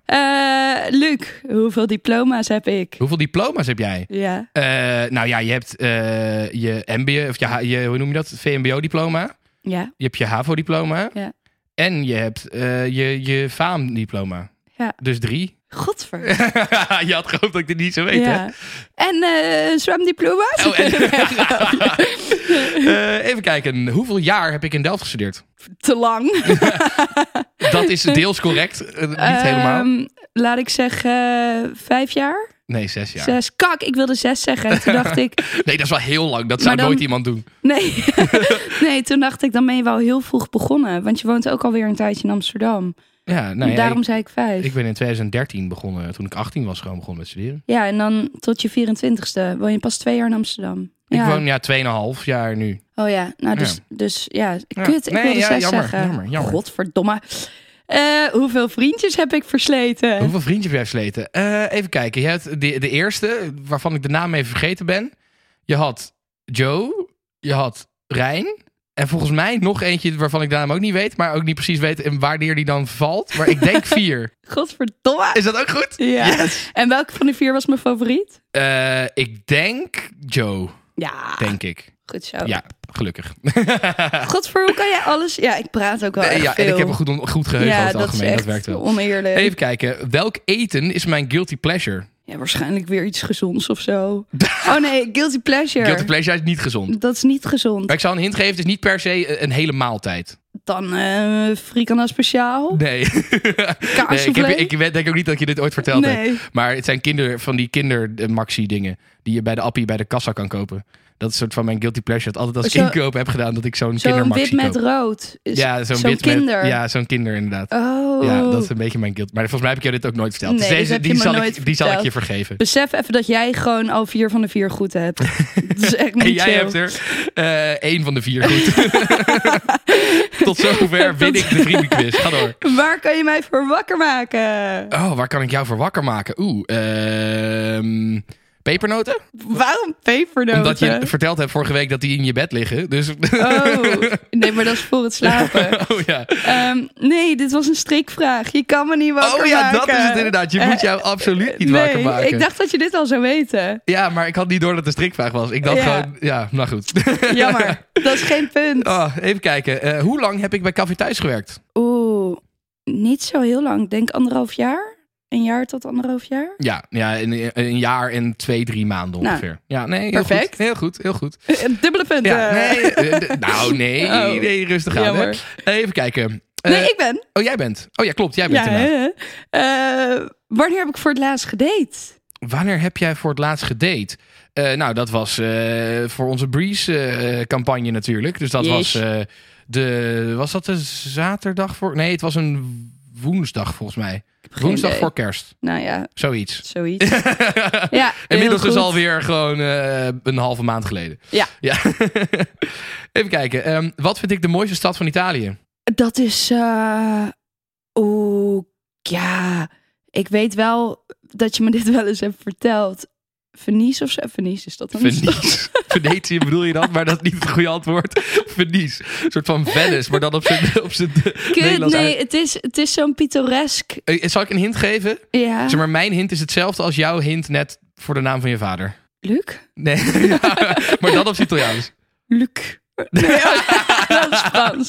Eh, Luc, hoeveel diploma's heb ik? Hoeveel diploma's heb jij? Ja. Eh, nou ja, je hebt eh, je MBO, of je, H- je, hoe noem je dat? VMBO-diploma. Ja. Je hebt je HAVO-diploma. Ja. En je hebt eh, je, je VAAM-diploma. Ja. Dus drie. Godver. je had gehoopt dat ik dit niet zou weten. hè? Ja. En eh zwemdiploma's? Oh, en- Eh, even kijken. Hoeveel jaar heb ik in Delft gestudeerd? Te lang. Dat is deels correct. Eh, niet helemaal. Ehm, laat ik zeggen eh, vijf jaar? Nee, zes jaar. Zes. Kak, ik wilde zes zeggen. En toen dacht ik, Nee, dat is wel heel lang. Dat zou Maar dan- nooit iemand doen. nee. nee, toen dacht ik, dan ben je wel heel vroeg begonnen. Want je woont ook alweer een tijdje in Amsterdam. Ja, nou ja, Daarom zei ik ik, vijf. ik ben in 2013 begonnen. Toen ik 18 was, gewoon begonnen met studeren. Ja, en dan tot je 24ste woon je pas twee jaar in Amsterdam. Ja. Ik woon ja 2,5 jaar nu. Oh ja, nou dus ja, dus, ja kut, ik Nee, wilde ja, zes jammer, zeggen. jammer, jammer. Godverdomme. Eh, hoeveel vriendjes heb ik versleten? Hoeveel vriendjes heb jij versleten? Eh, even kijken. Je hebt de, de eerste, waarvan ik de naam even vergeten ben. Je had Joe. Je had Rijn. En volgens mij nog eentje waarvan ik de naam ook niet weet. Maar ook niet precies weet en wanneer die dan valt. Maar ik denk vier. Godverdomme. Is dat ook goed? Ja. En welke van de vier was mijn favoriet? Eh, ik denk Joe, Ja. denk ik. Goed zo. Ah. Ja, gelukkig. Godver, hoe kan jij alles... Ja, ik praat ook wel echt ja, veel. en ik heb een goed, goed geheugen Ja, over het dat algemeen. is Dat echt werkt wel. oneerlijk. Even kijken. Welk eten is mijn guilty pleasure? Ja, waarschijnlijk weer iets gezonds of zo. oh nee, guilty pleasure. Guilty pleasure is niet gezond. Dat is niet gezond. Maar ik zal een hint geven. Het is niet per se eh, een hele maaltijd. Dan eh frikandel speciaal. Nee. nee ik, heb, Kaarsoufflé? ik weet- denk ook niet dat ik je dit ooit verteld heb. Nee. Maar het zijn kinder, van die kindermaxi dingen. Die je bij de appie bij de kassa kan kopen. Dat is een soort van mijn guilty pleasure. Dat altijd als ik Zo- inkoop heb gedaan dat ik Zo'n zo'n kindermaxi wit met koop. rood. Is- Ja, zo'n wit kinder. met... Ja, zo'n kinder inderdaad. Oh. Ja, dat is een beetje mijn guilt. Maar volgens mij heb ik jou dit ook nooit verteld. Nee, dus dat deze, heb je die, me zal ik, nooit die zal ik je verteld. Dus vergeven. Besef even dat jij gewoon al vier van de vier goed hebt. dat is echt niet En jij chill. hebt er eh, één van de vier goed. Tot zover win ik de vriendenquiz. Ga door. Waar kan je mij voor wakker maken? Oh, waar kan ik jou voor wakker maken? Oeh, ehm, pepernoten? Waarom pepernoten? Omdat je verteld hebt vorige week dat die in je bed liggen. Dus, Oh, nee, maar dat is voor het slapen. oh ja. Ehm, nee, dit was een strikvraag. Je kan me niet wakker maken. Eh, Oh ja, dat is het inderdaad. Je moet jou absoluut niet nee, wakker maken. ik dacht dat je dit al zou weten. Ja, maar ik had niet door dat het een strikvraag was. Ik dacht Ja. gewoon, ja, nou goed. Jammer, dat is geen punt. Oh, even kijken. Eh, hoe lang heb ik bij Café Thuis gewerkt? Oeh, niet zo heel lang. Ik Denk anderhalf jaar. Een jaar tot anderhalf jaar. Ja, ja een, een jaar en twee, drie maanden Nou, ongeveer. ja, nee, heel perfect. Goed, heel goed, heel goed. Eh, Dubbele punten. Ja, nee, eh, d- nou, nee, Oh. nee rustig aan. Hè. Jammer. Even kijken. Eh, Nee, ik ben. Oh, jij bent. Oh ja, klopt, jij bent Ja, inderdaad. hè? Eh, wanneer heb ik voor het laatst gedate? Wanneer heb jij voor het laatst gedate? Eh, nou, dat was eh, voor onze Breeze-campagne natuurlijk. Dus dat was, Jees. eh, de, was dat de zaterdag voor... Nee, het was een woensdag volgens mij. geen Woensdag idee. voor kerst, Nou ja, zoiets. zoiets. ja, Inmiddels heel dus goed. alweer gewoon eh, een halve maand geleden. Ja. ja. Even kijken. ehm, wat vind ik de mooiste stad van Italië? Dat is... eh, Oeh, ja. Ik weet wel dat je me dit wel eens hebt verteld. Venice of zo? Venice is dat dan? Venice. Venetië bedoel je dan, maar dat is niet het goede antwoord. Venice. Een soort van Venice, maar dan op zijn, op zijn Kut, Nederlands nee, het is, het is zo'n pittoresk. uit. Eh, Zal ik een hint geven? Ja. Zeg maar, mijn hint is hetzelfde als jouw hint net voor de naam van je vader. Luc? Nee, ja, maar dat op het Italiaans. Luc. Nee, oh, dat is Frans.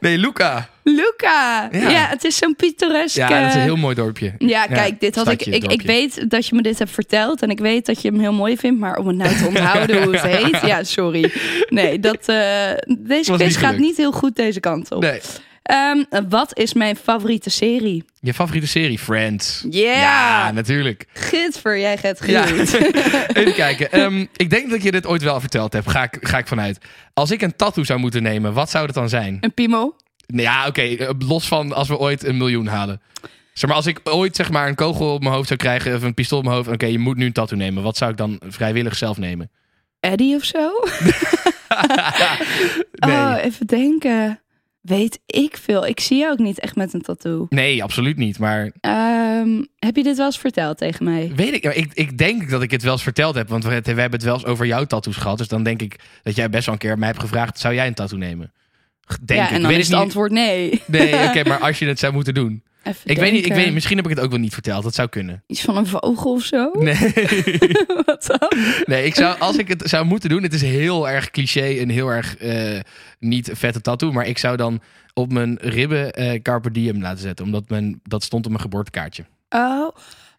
Nee, Luca. Luca. Ja. Ja, het is zo'n pittoresk. Ja, dat is een eh, heel mooi dorpje. Ja, kijk, dit had stadje, ik, ik. Ik dorpje. weet dat je me dit hebt verteld. En ik weet dat je hem heel mooi vindt. Maar om het nou te onthouden hoe het heet. Ja, sorry. Nee, dat, eh, deze Was quiz niet gaat gelukt. niet heel goed deze kant op. Nee. Ehm, wat is mijn favoriete serie? Je favoriete serie, Friends. Yeah. Ja, natuurlijk. Gidver, jij gaat Ja. goed. Even kijken. Ehm, ik denk dat je dit ooit wel verteld hebt. Ga ik, ga ik vanuit. Als ik een tattoo zou moeten nemen, wat zou dat dan zijn? Een piemel? Nou Ja, oké. eh, los van als we ooit een miljoen halen. Zeg maar, als ik ooit zeg maar, een kogel op mijn hoofd zou krijgen of een pistool op mijn hoofd. Oké, je moet nu een tattoo nemen. Wat zou ik dan vrijwillig zelf nemen? Eddie of zo? Nee, Oh, even denken. Weet ik veel. Ik zie jou ook niet echt met een tattoo. nee absoluut niet. Maar Ehm, heb je dit wel eens verteld tegen mij? weet ik, ik, ik denk dat ik het wel eens verteld heb. Want we, het- we hebben het wel eens over jouw tattoos gehad. Dus dan denk ik dat jij best wel een keer mij hebt gevraagd: zou jij een tattoo nemen? Denk ja, ik. en Ik dan weet dus is het niet- antwoord eh, nee. Nee, oké, maar als je het zou moeten doen. Even Ik weet, niet, ik denken. weet niet, misschien heb ik het ook wel niet verteld. Dat zou kunnen. Iets van een vogel of zo? Nee, Wat dan? nee ik zou, als ik het zou moeten doen, het is heel erg cliché en heel erg eh, niet vette tattoo. Maar ik zou dan op mijn ribben eh Carpe Diem laten zetten. Omdat mijn, dat stond op mijn geboortekaartje. Oh,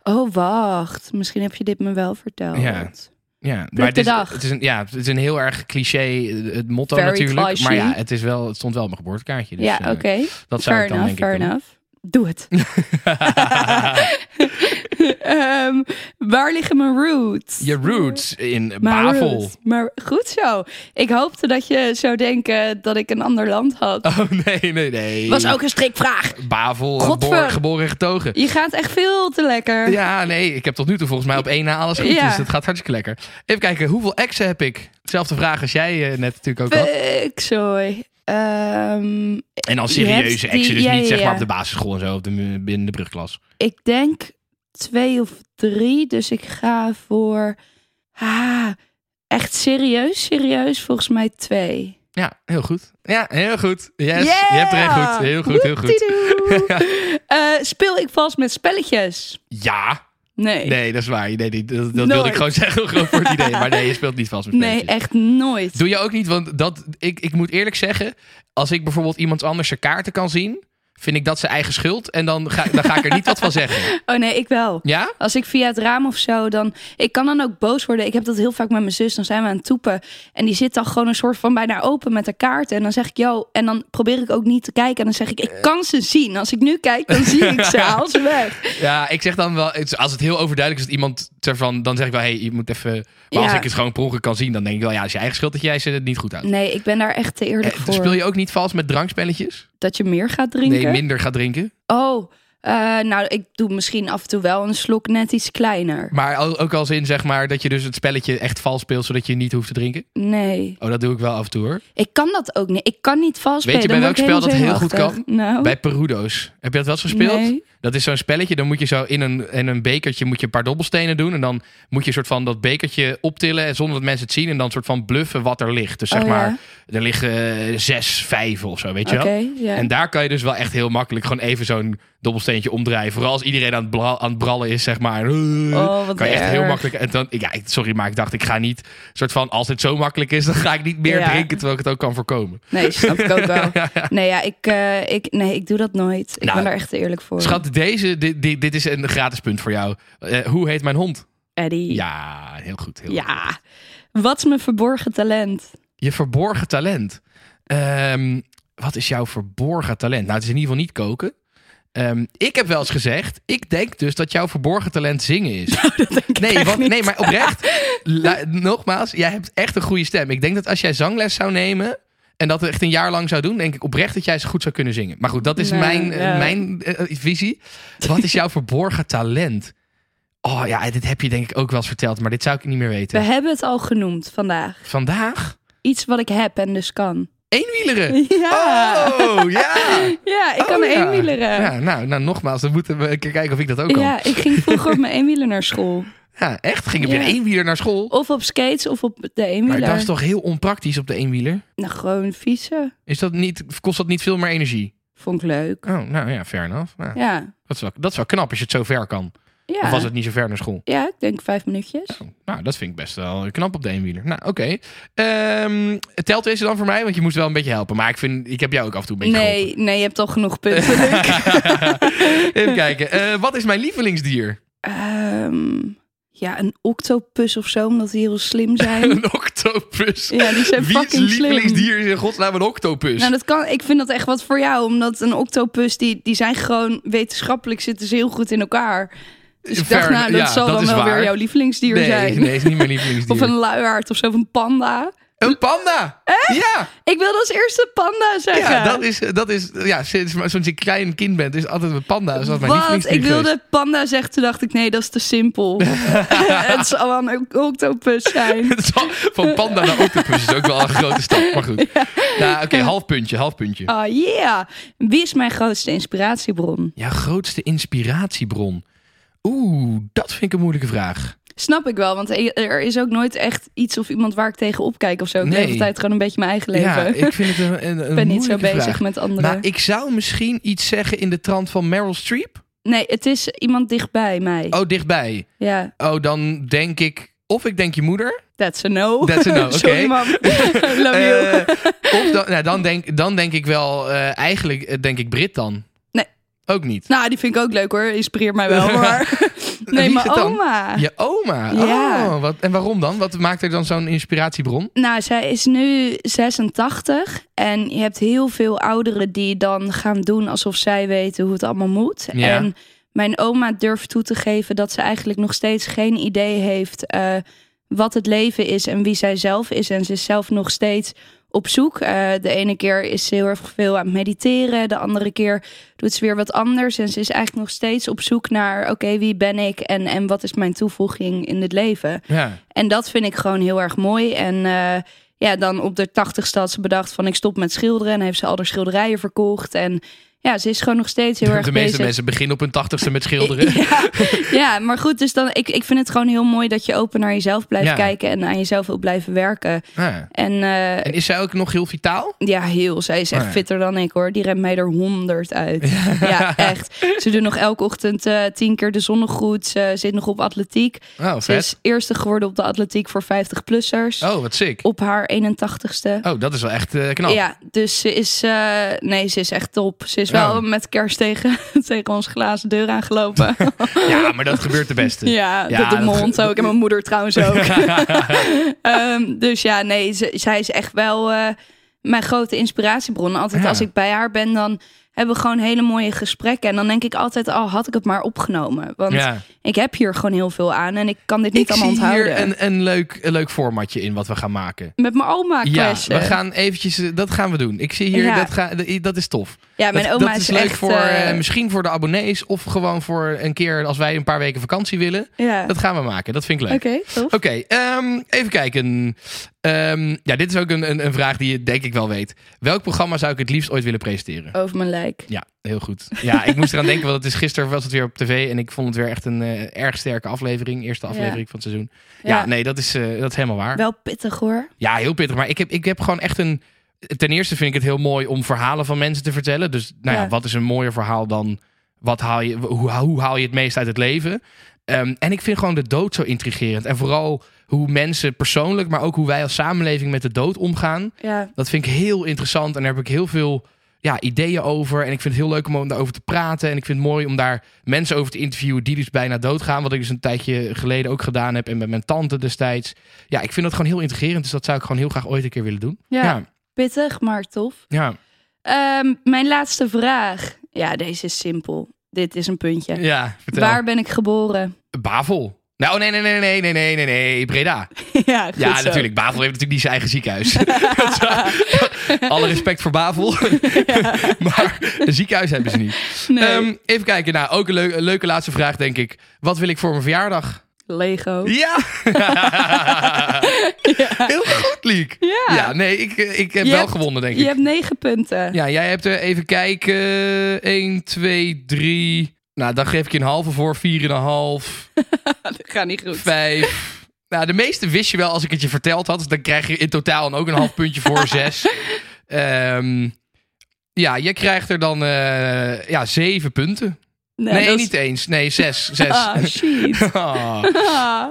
oh, wacht. Misschien heb je dit me wel verteld. Ja. dus, Ja, de maar het is, dag. Het is een, ja, het is een heel erg cliché eh, het motto Very natuurlijk. cliché. Maar ja, het, is wel, het stond wel op mijn geboortekaartje. Dus, ja, eh, oké. Dat zou Fair ik dan enough, fair denk ik doen. enough. Doe het. Ehm, waar liggen mijn roots? Je roots in Mijn Bavel. roots. Maar goed zo. Ik hoopte dat je zou denken dat ik een ander land had. Oh nee, nee, nee. Was ook een strikvraag. Bavel, eh, Godver- boor- geboren en getogen. Je gaat echt veel te lekker. Ja, nee, ik heb tot nu toe volgens mij op één na alles goed. Ja. Dus dat gaat hartstikke lekker. Even kijken, hoeveel exen heb ik? Zelfde vraag als jij eh, net natuurlijk ook had. Pixooi. Ehm En dan je hebt serieuze exen, die- dus ja, niet ja, zeg maar ja. op de basisschool en zo, of de, mu- binnen de brugklas. ik denk twee of drie. Dus ik ga voor... Ah, echt serieus, serieus volgens mij twee. Ja, heel goed. Ja, heel goed. Yes, Yeah! je hebt er een goed. Heel goed, heel goed. Woeptiedoe. Eh, speel ik vals met spelletjes? Ja, Nee. Nee, nee, dat is waar. Nee, die- dat dat wilde Nooit. ik gewoon zeggen, gewoon voor het idee. Maar nee, je speelt niet vast met spelletjes. echt nooit. Doe je ook niet, want dat, ik, ik moet eerlijk zeggen, als ik bijvoorbeeld iemand anders zijn kaarten kan zien, vind ik dat zijn eigen schuld en dan ga, dan ga ik er niet wat van zeggen. Oh nee, ik wel. Ja? Als ik via het raam of zo, dan... Ik kan dan ook boos worden. Ik heb dat heel vaak met mijn zus. Dan zijn we aan het toepen. En die zit dan gewoon een soort van bijna open met haar kaarten. En dan zeg ik, yo... En dan probeer ik ook niet te kijken. En dan zeg ik, ik kan ze zien. Als ik nu kijk, dan zie ik ze. Haal ze weg. Ja, ik zeg dan wel, het- als het heel overduidelijk is dat iemand ervan, dan zeg ik wel, hey, je moet even. Maar als Ja. ik het gewoon per ongeluk kan zien, dan denk ik wel, ja, het is je eigen schuld dat jij ze het niet goed houdt. Nee, ik ben daar echt te eerlijk Eh, voor. speel je ook niet vals met drankspelletjes? Dat je meer gaat drinken? Nee, minder gaat drinken. Oh, eh, nou, ik doe misschien af en toe wel een slok net iets kleiner. Maar al- ook als in, zeg maar, dat je dus het spelletje echt vals speelt, zodat je niet hoeft te drinken. Nee, Oh, dat doe ik wel af en toe hoor. ik kan dat ook niet. Ik kan niet vals Weet je bij welk spel dat heel goed kan? Nou, Bij Perudo's. Heb je dat wel eens gespeeld? Nee. Dat is zo'n spelletje. Dan moet je zo in een, in een bekertje moet je een paar dobbelstenen doen. En dan moet je een soort van dat bekertje optillen. en Zonder dat mensen het zien. En dan soort van bluffen wat er ligt. Dus zeg Oh, ja. maar, er liggen eh, zes, vijf of zo. Weet je oké, wel? ja. En daar kan je dus wel echt heel makkelijk gewoon even zo'n dobbelsteentje omdraaien. Vooral als iedereen aan het, bla- aan het brallen is, zeg maar. Oh, wat kan je echt heel erg. makkelijk. En dan, ja, ik- sorry, maar ik dacht, ik ga niet. soort van, als het zo makkelijk is, dan ga ik niet meer Ja. drinken. Terwijl ik het ook kan voorkomen. Nee, snap ik ook wel. Nee, ja, ik, eh, ik, nee, ik doe dat nooit. Ik Nou, ben daar echt te eerlijk voor. Schat, deze, dit, dit, dit is een gratis punt voor jou. Eh, hoe heet mijn hond? Eddie. Ja, heel goed. Heel goed. Ja. Wat is mijn verborgen talent? Je verborgen talent. Ehm, wat is jouw verborgen talent? Nou, het is in ieder geval niet koken. Ehm, ik heb wel eens gezegd, ik denk dus dat jouw verborgen talent zingen is. nee, want, nee, maar oprecht, lu- nogmaals, jij hebt echt een goede stem. Ik denk dat als jij zangles zou nemen en dat echt een jaar lang zou doen, denk ik oprecht dat jij ze goed zou kunnen zingen. Maar goed, dat is Nee, mijn, eh, ja. mijn eh, visie. Wat is jouw verborgen talent? Oh ja, dit heb je denk ik ook wel eens verteld, maar dit zou ik niet meer We weten. hebben het al genoemd vandaag. Vandaag? Iets wat ik heb en dus kan. Eenwieleren! Ja. Oh, ja! Ja, ik kan Oh, ja. eenwieleren. Ja, nou, nou, nogmaals, dan moeten we een keer kijken of ik dat ook kan. Ja, ik ging vroeger op mijn eenwielen naar school. Ja, echt? Ging je op je Ja. eenwieler naar school? Of op skates of op de Maar dat eenwieler. is toch heel onpraktisch op de eenwieler? Nou, gewoon fietsen. Is dat niet, kost dat niet veel meer energie? Vond ik leuk. Oh, nou ja, fair enough. Ja, Ja. Dat, is wel, dat is wel knap als je het zo ver kan. Ja. Of was het niet zo ver naar school? ja, ik denk vijf minuutjes. Oh, nou, dat vind ik best wel knap op de eenwieler. Nou, oké. Ehm, telt deze dan voor mij? Want je moest wel een beetje helpen. Maar ik, vind, ik heb jou ook af en toe een beetje geholpen. Nee, nee, je hebt al genoeg punten. Luc. Even kijken. Eh, wat is mijn lievelingsdier? Ehm, ja, een octopus of zo, omdat die heel slim zijn. Een octopus. ja, die zijn Wie's fucking slim. lievelingsdier is in godsnaam een octopus? Nou, dat kan, ik vind dat echt wat voor jou, omdat een octopus, die, die zijn gewoon wetenschappelijk zitten ze heel goed in elkaar. Dus ik Fair dacht, nou, enough. dat Ja, zal dat dan is wel waar. weer jouw lievelingsdier nee, zijn. nee, is niet mijn lievelingsdier. Of een luiaard of zo, of een panda. Een panda! Ja, Ik wilde als eerste panda zeggen. ja, dat is, dat is ja, sinds, sinds ik klein kind ben, is altijd een panda. Is dat mijn Wat? lievelingsdier Ik wilde panda zeggen, toen dacht ik, nee, dat is te simpel. het zal wel een octopus zijn. geweest. Het is al- Van panda naar octopus is ook wel een grote stap, maar goed. Nou, oké, half puntje, half puntje. Oh yeah. Wie is mijn grootste inspiratiebron? Ja, grootste inspiratiebron. Oeh, dat vind ik een moeilijke vraag. Snap ik wel, want e- er is ook nooit echt iets of iemand waar ik tegen opkijk of zo. Ik Nee. leef altijd gewoon een beetje mijn eigen leven. Ja, ik vind het een, een, ik ben niet zo bezig met anderen. Maar ik zou misschien iets zeggen in de trant van Meryl Streep. Nee, het is iemand dichtbij mij. Oh, dichtbij. Ja, Oh, dan denk ik... Of ik denk je moeder. that's a no. That's a no, oh, oké. Sorry mam. Love you. Eh, of dan, nou, dan, denk, dan denk ik wel... eh, eigenlijk eh, denk ik Brit dan. Nee. Ook niet. Nou, die vind ik ook leuk hoor. Inspireert mij wel. Maar... Wie Nee, is mijn het dan? oma. Je oma. Ja. Oh, wat, en waarom dan? Wat maakt er dan zo'n inspiratiebron? Nou, zij is nu 86 en je hebt heel veel ouderen die dan gaan doen alsof zij weten hoe het allemaal moet. Ja. En mijn oma durft toe te geven dat ze eigenlijk nog steeds geen idee heeft eh, wat het leven is en wie zij zelf is. En ze is zelf nog steeds op zoek. Eh, de ene keer is ze heel erg veel aan het mediteren, de andere keer doet ze weer wat anders. En ze is eigenlijk nog steeds op zoek naar, oké, wie ben ik en, en wat is mijn toevoeging in het leven? Ja. En dat vind ik gewoon heel erg mooi. En eh, ja, dan op de tachtigste had ze bedacht van ik stop met schilderen. En heeft ze al haar schilderijen verkocht. En ja, ze is gewoon nog steeds heel erg De meeste bezig. mensen beginnen op hun tachtigste met schilderen. Ja, ja, maar goed, dus dan, ik, ik vind het gewoon heel mooi dat je open naar jezelf blijft Ja. kijken. En aan jezelf wil blijven werken. Ja. En eh, En is zij ook nog heel vitaal? ja, heel. Zij is echt Oh ja. fitter dan ik hoor. Die remt mij er honderd uit. Ja. echt. Ze doet nog elke ochtend eh, tien keer de zonnegroet. Ze zit nog op atletiek. Oh, Ze vet. is eerste geworden op de atletiek voor 50-plussers Oh, wat sick. op haar 81ste. Oh, dat is wel echt eh, knap. Ja, dus ze is, eh, nee, ze is echt top. Ze is wel Ja. met kerst tegen, tegen ons glazen deur aangelopen. Ja, maar dat gebeurt de beste. ja, Ja, dat doet dat- mijn hond ook en mijn moeder trouwens ook. Ehm, dus ja, nee, ze- zij is echt wel eh, mijn grote inspiratiebron. Altijd Ja. als ik bij haar ben, dan hebben we gewoon hele mooie gesprekken. En dan denk ik altijd, al had ik het maar opgenomen. Want Ja. ik heb hier gewoon heel veel aan en ik kan dit niet Ik allemaal zie onthouden. hier een, een, leuk, een leuk formatje in wat we gaan maken. Met mijn oma Ja, clashen. we gaan eventjes, eh, dat gaan we doen. Ik zie hier, Ja. dat, ga, dat is tof. Ja, mijn dat, oma dat is, is, leuk echt, voor, eh, eh, misschien voor de abonnees of gewoon voor een keer als wij een paar weken vakantie willen. ja. Dat gaan we maken, dat vind ik leuk. Oké, tof. Oké, ehm, even kijken. Ehm, ja, dit is ook een, een, een vraag die je denk ik wel weet. Welk programma zou ik het liefst ooit willen presenteren? Oh, Over mijn lijk. Ja, heel goed. Ja, ik moest eraan denken, want het is gisteren was het weer op tv en ik vond het weer echt een eh, erg sterke aflevering. Eerste Ja. aflevering van het seizoen. Ja, Ja. nee, dat is, eh, dat is helemaal waar. Wel pittig hoor. Ja, heel pittig. Maar ik heb, ik heb gewoon echt een... Ten eerste vind ik het heel mooi om verhalen van mensen te vertellen. Dus nou ja, Ja. wat is een mooier verhaal dan... Wat haal je, hoe, hoe haal je het meest uit het leven? Ehm, en ik vind gewoon de dood zo intrigerend. En vooral hoe mensen persoonlijk, maar ook hoe wij als samenleving met de dood omgaan. Ja. Dat vind ik heel interessant en daar heb ik heel veel ja, ideeën over. En ik vind het heel leuk om daarover te praten. En ik vind het mooi om daar mensen over te interviewen die dus bijna doodgaan. Wat ik dus een tijdje geleden ook gedaan heb en met mijn tante destijds. Ja, ik vind dat gewoon heel intrigerend. Dus dat zou ik gewoon heel graag ooit een keer willen doen. Ja. ja. Pittig, maar tof. ja. Ehm, mijn laatste vraag. Ja, deze is simpel. Dit is een puntje. Ja, vertel. Waar ben ik geboren? Bavel. Nou, nee, nee, nee, nee, nee, nee, nee, nee, Breda. ja, goed Ja, zo. natuurlijk. Bavel heeft natuurlijk niet zijn eigen ziekenhuis. Dat zou- Alle respect voor Bavel. maar een ziekenhuis hebben ze niet. Nee. Ehm, even kijken. Nou, ook een, leu- een leuke laatste vraag, denk ik. Wat wil ik voor mijn verjaardag? Lego. Ja! Heel goed, Liek. Ja. nee, ik, eh, ik heb Je wel hebt- gewonnen, denk Je ik. eh, hebt negen punten. Ja, jij hebt er even kijken. 1, 2, 3, Nou, dan geef ik je een halve voor. Vier en een half. Dat gaat niet goed. Vijf. Nou, de meeste wist je wel als ik het je verteld had. Dus dan krijg je in totaal dan ook een half puntje voor zes. Ehm, ja, je krijgt er dan eh, ja, zeven punten. nee, dat is- niet eens. Nee, zes. zes. Ah, shit. Ah. Ah.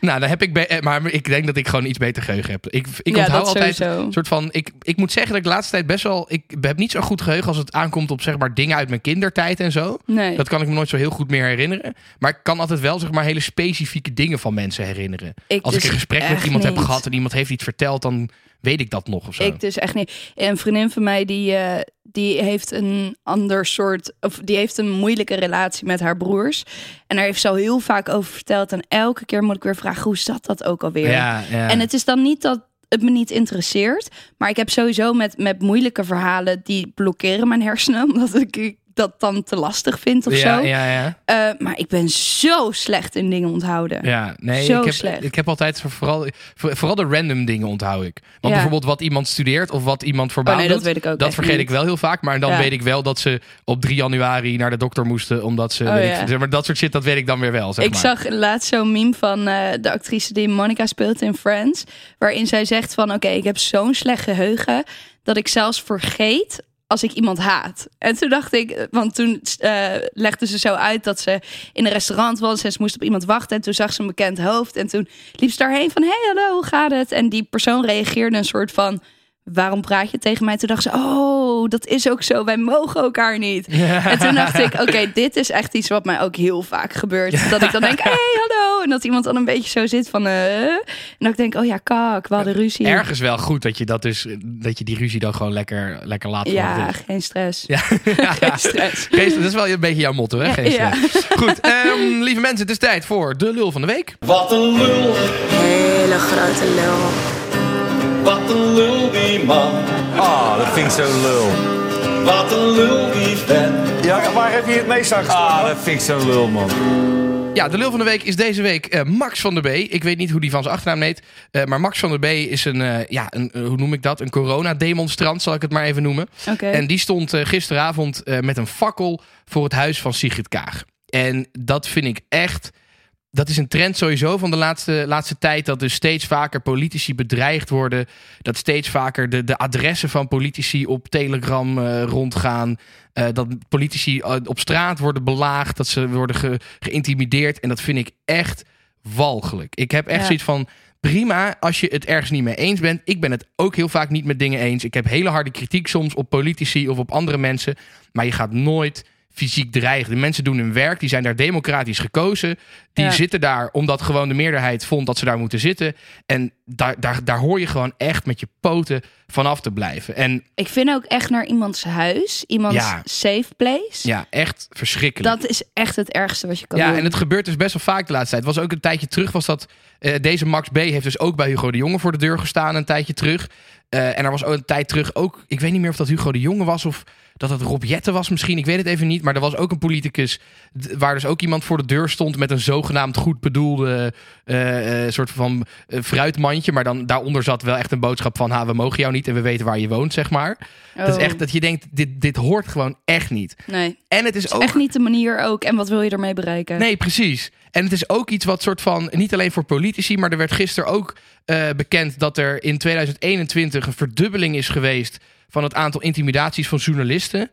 Nou, dan heb ik. be- eh, Maar ik denk dat ik gewoon iets beter geheugen heb. Ik, ik ja, onthoud dat altijd. sowieso. Een soort van, ik, ik moet zeggen dat ik de laatste tijd best wel. Ik heb niet zo'n goed geheugen als het aankomt op zeg maar dingen uit mijn kindertijd en zo. Nee. Dat kan ik me nooit zo heel goed meer herinneren. Maar ik kan altijd wel zeg maar hele specifieke dingen van mensen herinneren. ik Als ik dus een gesprek met echt iemand heb niet. gehad en iemand heeft iets verteld, dan weet ik dat nog of zo. Ik dus echt niet. Een vriendin van mij die, eh, die heeft een ander soort. Of die heeft een moeilijke relatie met haar broers. En daar heeft ze al heel vaak over verteld. En elke keer moet ik weer vragen: hoe zat dat ook alweer? ja, ja. En het is dan niet dat het me niet interesseert. Maar ik heb sowieso met, met moeilijke verhalen die blokkeren mijn hersenen. Omdat ik dat dan te lastig vind of ja, zo. ja, ja. Eh, maar ik ben zo slecht in dingen onthouden. Ja, nee, Zo ik heb, slecht. ik heb altijd voor- vooral, voor- vooral de random dingen onthoud ik. Want Ja. bijvoorbeeld wat iemand studeert of wat iemand Oh voorbij nee, dat weet ik ook. Dat echt vergeet niet. ik wel heel vaak, maar dan Ja. weet ik wel dat ze op 3 januari naar de dokter moesten, omdat ze, Oh, weet ik- ja. zeg maar dat soort shit, dat weet ik dan weer wel, zeg ik maar. zag laatst zo'n meme van eh, de actrice die Monica speelt in Friends. Waarin zij zegt van oké, ik heb zo'n slecht geheugen dat ik zelfs vergeet als ik iemand haat. En toen dacht ik, want toen eh, legde ze zo uit dat ze in een restaurant was en ze moest op iemand wachten. En toen zag ze een bekend hoofd en toen liep ze daarheen van hey hallo, hoe gaat het? En die persoon reageerde een soort van waarom praat je tegen mij? Toen dacht ze oh, dat is ook zo, wij mogen elkaar niet. En toen dacht ik, oké, dit is echt iets wat mij ook heel vaak gebeurt. Dat ik dan denk, hé, hey, hallo. En dat iemand dan een beetje zo zit van... eh. En dat ik denk, oh ja, kak, we hadden ruzie. Ergens wel goed dat je dat dus, dat je die ruzie dan gewoon lekker, lekker laat. voor wat Ja, het is. geen stress. dus. Ja. Geen stress. Geest, dat is wel een beetje jouw motto, hè? Geest, Ja. Goed, ehm, lieve mensen, het is tijd voor de lul van de week. Wat een lul, Hele grote lul. wat een lul die man. Ah, dat vind ik zo'n lul. Wat een lul die vet. Ja, waar heb je het meest aan gestoken? Ah, dat vind ik zo'n lul, man. Ja, de lul van de week is deze week eh, Max van der B. Ik weet niet hoe die van zijn achternaam heet. eh, maar Max van der B is een, eh, ja, een, eh, hoe noem ik dat? Een coronademonstrant, zal ik het maar even noemen. Oké. En die stond eh, gisteravond eh, met een fakkel voor het huis van Sigrid Kaag. En dat vind ik echt. Dat is een trend sowieso van de laatste, laatste tijd. Dat dus steeds vaker politici bedreigd worden. Dat steeds vaker de, de adressen van politici op Telegram eh, rondgaan. Eh, dat politici eh, op straat worden belaagd. Dat ze worden ge- geïntimideerd. En dat vind ik echt walgelijk. Ik heb echt Ja. zoiets van. Prima als je het ergens niet mee eens bent. Ik ben het ook heel vaak niet met dingen eens. Ik heb hele harde kritiek soms op politici of op andere mensen. Maar je gaat nooit fysiek dreigen. De mensen doen hun werk. Die zijn daar democratisch gekozen. Die Ja. zitten daar omdat gewoon de meerderheid vond dat ze daar moeten zitten. En daar, daar, daar hoor je gewoon echt met je poten vanaf te blijven. En Ik vind ook echt naar iemands huis, iemands Ja. safe place. ja, echt verschrikkelijk. Dat is echt het ergste wat je kan Ja, doen. en het gebeurt dus best wel vaak de laatste tijd. Was ook een tijdje terug was dat eh, deze Max B heeft dus ook bij Hugo de Jonge voor de deur gestaan een tijdje terug. Eh, en er was ook een tijd terug ook, ik weet niet meer of dat Hugo de Jonge was of dat het Rob Jetten was misschien, ik weet het even niet. Maar er was ook een politicus d- waar dus ook iemand voor de deur stond met een zogenaamd goed bedoelde eh, eh, soort van eh, fruitmandje. Maar dan daaronder zat wel echt een boodschap van, ha, we mogen jou niet en we weten waar je woont, zeg maar. Oh, Dat is echt dat je denkt, dit, dit hoort gewoon echt niet. Nee, En het is, ook echt niet de manier ook. En wat wil je ermee bereiken? Nee, precies. En het is ook iets wat soort van, niet alleen voor politici, maar er werd gisteren ook eh, bekend dat er in 2021 een verdubbeling is geweest van het aantal intimidaties van journalisten.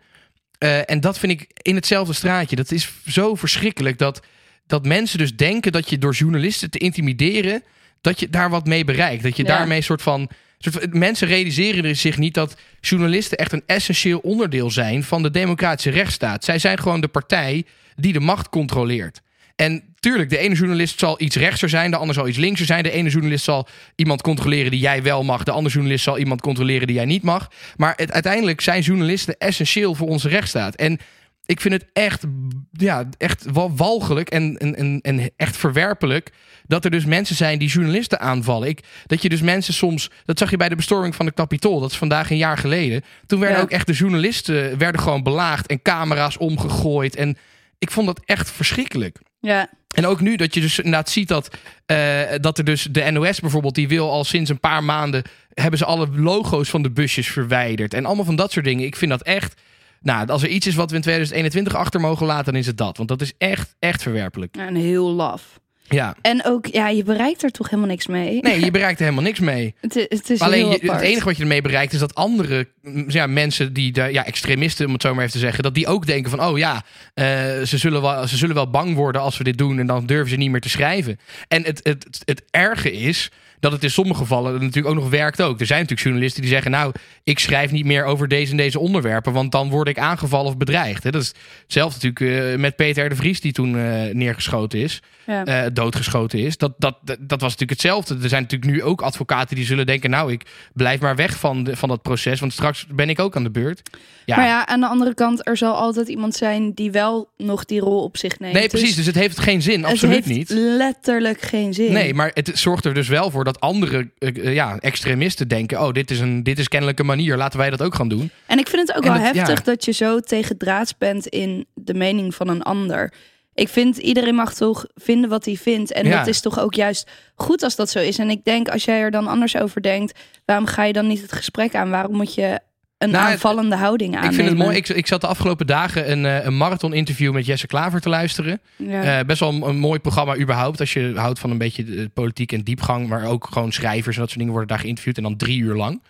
Eh, en dat vind ik in hetzelfde straatje. Dat is zo verschrikkelijk dat, dat mensen dus denken dat je door journalisten te intimideren, dat je daar wat mee bereikt. Dat je Ja. daarmee soort van, soort van- Mensen realiseren zich niet dat journalisten echt een essentieel onderdeel zijn van de democratische rechtsstaat. Zij zijn gewoon de partij die de macht controleert. En tuurlijk, de ene journalist zal iets rechtser zijn, de ander zal iets linkser zijn. De ene journalist zal iemand controleren die jij wel mag, de andere journalist zal iemand controleren die jij niet mag. Maar het, uiteindelijk zijn journalisten essentieel voor onze rechtsstaat. En ik vind het echt, ja, echt wa- walgelijk en, en, en, en echt verwerpelijk dat er dus mensen zijn die journalisten aanvallen. Ik, dat je dus mensen soms, dat zag je bij de bestorming van de Capitool, dat is vandaag een jaar geleden. Toen werden Ja. ook echt de journalisten eh, werden gewoon belaagd en camera's omgegooid. En ik vond dat echt verschrikkelijk. Ja, En ook nu dat je dus inderdaad ziet dat, eh, dat er dus de NOS bijvoorbeeld, die wil al sinds een paar maanden, hebben ze alle logo's van de busjes verwijderd. En allemaal van dat soort dingen. Ik vind dat echt, Nou, als er iets is wat we in 2021 achter mogen laten, dan is het dat. Want dat is echt, echt verwerpelijk. Ja, En heel laf. Ja. En ook, ja, je bereikt er toch helemaal niks mee. Nee, je bereikt er helemaal niks mee. Het, i- het is Alleen heel je- het apart. enige wat je ermee bereikt is dat andere mm, ja, mensen, die daar- ja, extremisten om het zo maar even te zeggen, dat die ook denken van, oh ja, eh, ze, zullen wel, ze zullen wel bang worden als we dit doen en dan durven ze niet meer te schrijven. En het, het, het, erge is dat het in sommige gevallen natuurlijk ook nog werkt ook. Er zijn natuurlijk journalisten die zeggen, nou, ik schrijf niet meer over deze en deze onderwerpen, want dan word ik aangevallen of bedreigd. hè. Dat is hetzelfde natuurlijk eh, met Peter R. de Vries die toen eh, neergeschoten is Ja. eh, doodgeschoten is. Dat, dat, dat was natuurlijk hetzelfde. Er zijn natuurlijk nu ook advocaten die zullen denken... nou, ik blijf maar weg van, de, van dat proces... want straks ben ik ook aan de beurt. Ja. Maar ja, aan de andere kant, er zal altijd iemand zijn die wel nog die rol op zich neemt. nee, precies. Dus Dus het heeft geen zin. het Absoluut heeft niet. letterlijk geen zin. Nee, maar het zorgt er dus wel voor dat andere eh, eh, ja, extremisten denken... oh, dit is, een, dit is kennelijk een manier, laten wij dat ook gaan doen. En ik vind het ook En wel dat- ja. heftig dat je zo tegendraads bent in de mening van een ander. Ik vind, iedereen mag toch vinden wat hij vindt. En Ja. dat is toch ook juist goed als dat zo is. En ik denk, als jij er dan anders over denkt, waarom ga je dan niet het gesprek aan? Waarom moet je een Nou, aanvallende houding aannemen? Ik vind het mooi. Ik, ik zat de afgelopen dagen een, eh, een marathon-interview met Jesse Klaver te luisteren. Ja. Eh, best wel een, een mooi programma überhaupt. Als je houdt van een beetje de politiek en diepgang. Maar ook gewoon schrijvers en dat soort dingen worden daar geïnterviewd. En dan drie uur lang.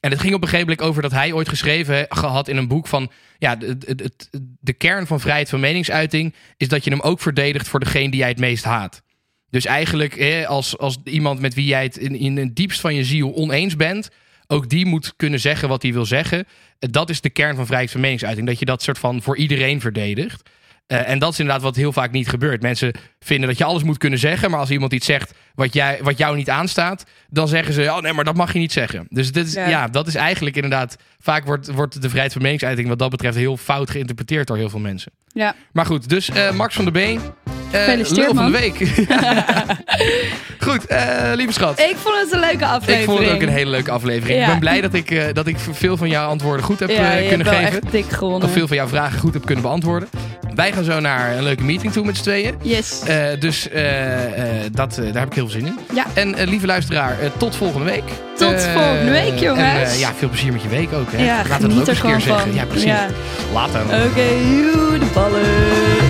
En het ging op een gegeven moment over dat hij ooit geschreven gehad in een boek van... Ja, de, de, de, de kern van vrijheid van meningsuiting is dat je hem ook verdedigt voor degene die jij het meest haat. Dus eigenlijk eh, als, als iemand met wie jij het in, in het diepst van je ziel oneens bent... ook die moet kunnen zeggen wat hij wil zeggen. Eh, Dat is de kern van vrijheid van meningsuiting. Dat je dat soort van voor iedereen verdedigt. Eh, en dat is inderdaad wat heel vaak niet gebeurt. Mensen vinden dat je alles moet kunnen zeggen. Maar als iemand iets zegt wat, jij, wat jou niet aanstaat. dan zeggen ze: Oh nee, maar dat mag je niet zeggen. Dus dit is, ja. Ja. dat is eigenlijk inderdaad. Vaak wordt, wordt de vrijheid van meningsuiting wat dat betreft heel fout geïnterpreteerd door heel veel mensen. ja. Maar goed, dus eh, Max van der Been. eh, Gefeliciteerd, lul van man. de week. goed, eh, lieve schat. ik vond het een leuke aflevering. Ik vond het ook een hele leuke aflevering. Ja. Ik ben blij dat ik, eh, dat ik veel van jouw antwoorden goed heb ja, eh, je kunnen hebt wel geven echt dik gewonnen. dat veel van jouw vragen goed heb kunnen beantwoorden. Wij gaan zo naar een leuke meeting toe met z'n tweeën. Yes. Eh, dus eh, eh, dat, eh, daar heb ik heel veel zin in. Ja. En eh, lieve luisteraar, eh, tot volgende week. Tot Eh, volgende week, jongens. En, eh, ja, veel plezier met je week ook. Hè. Ja, Laten we dat ook geniet er eens een gewoon keer zeggen. van. Ja, precies. Ja. Later. Oké, joe, de ballen.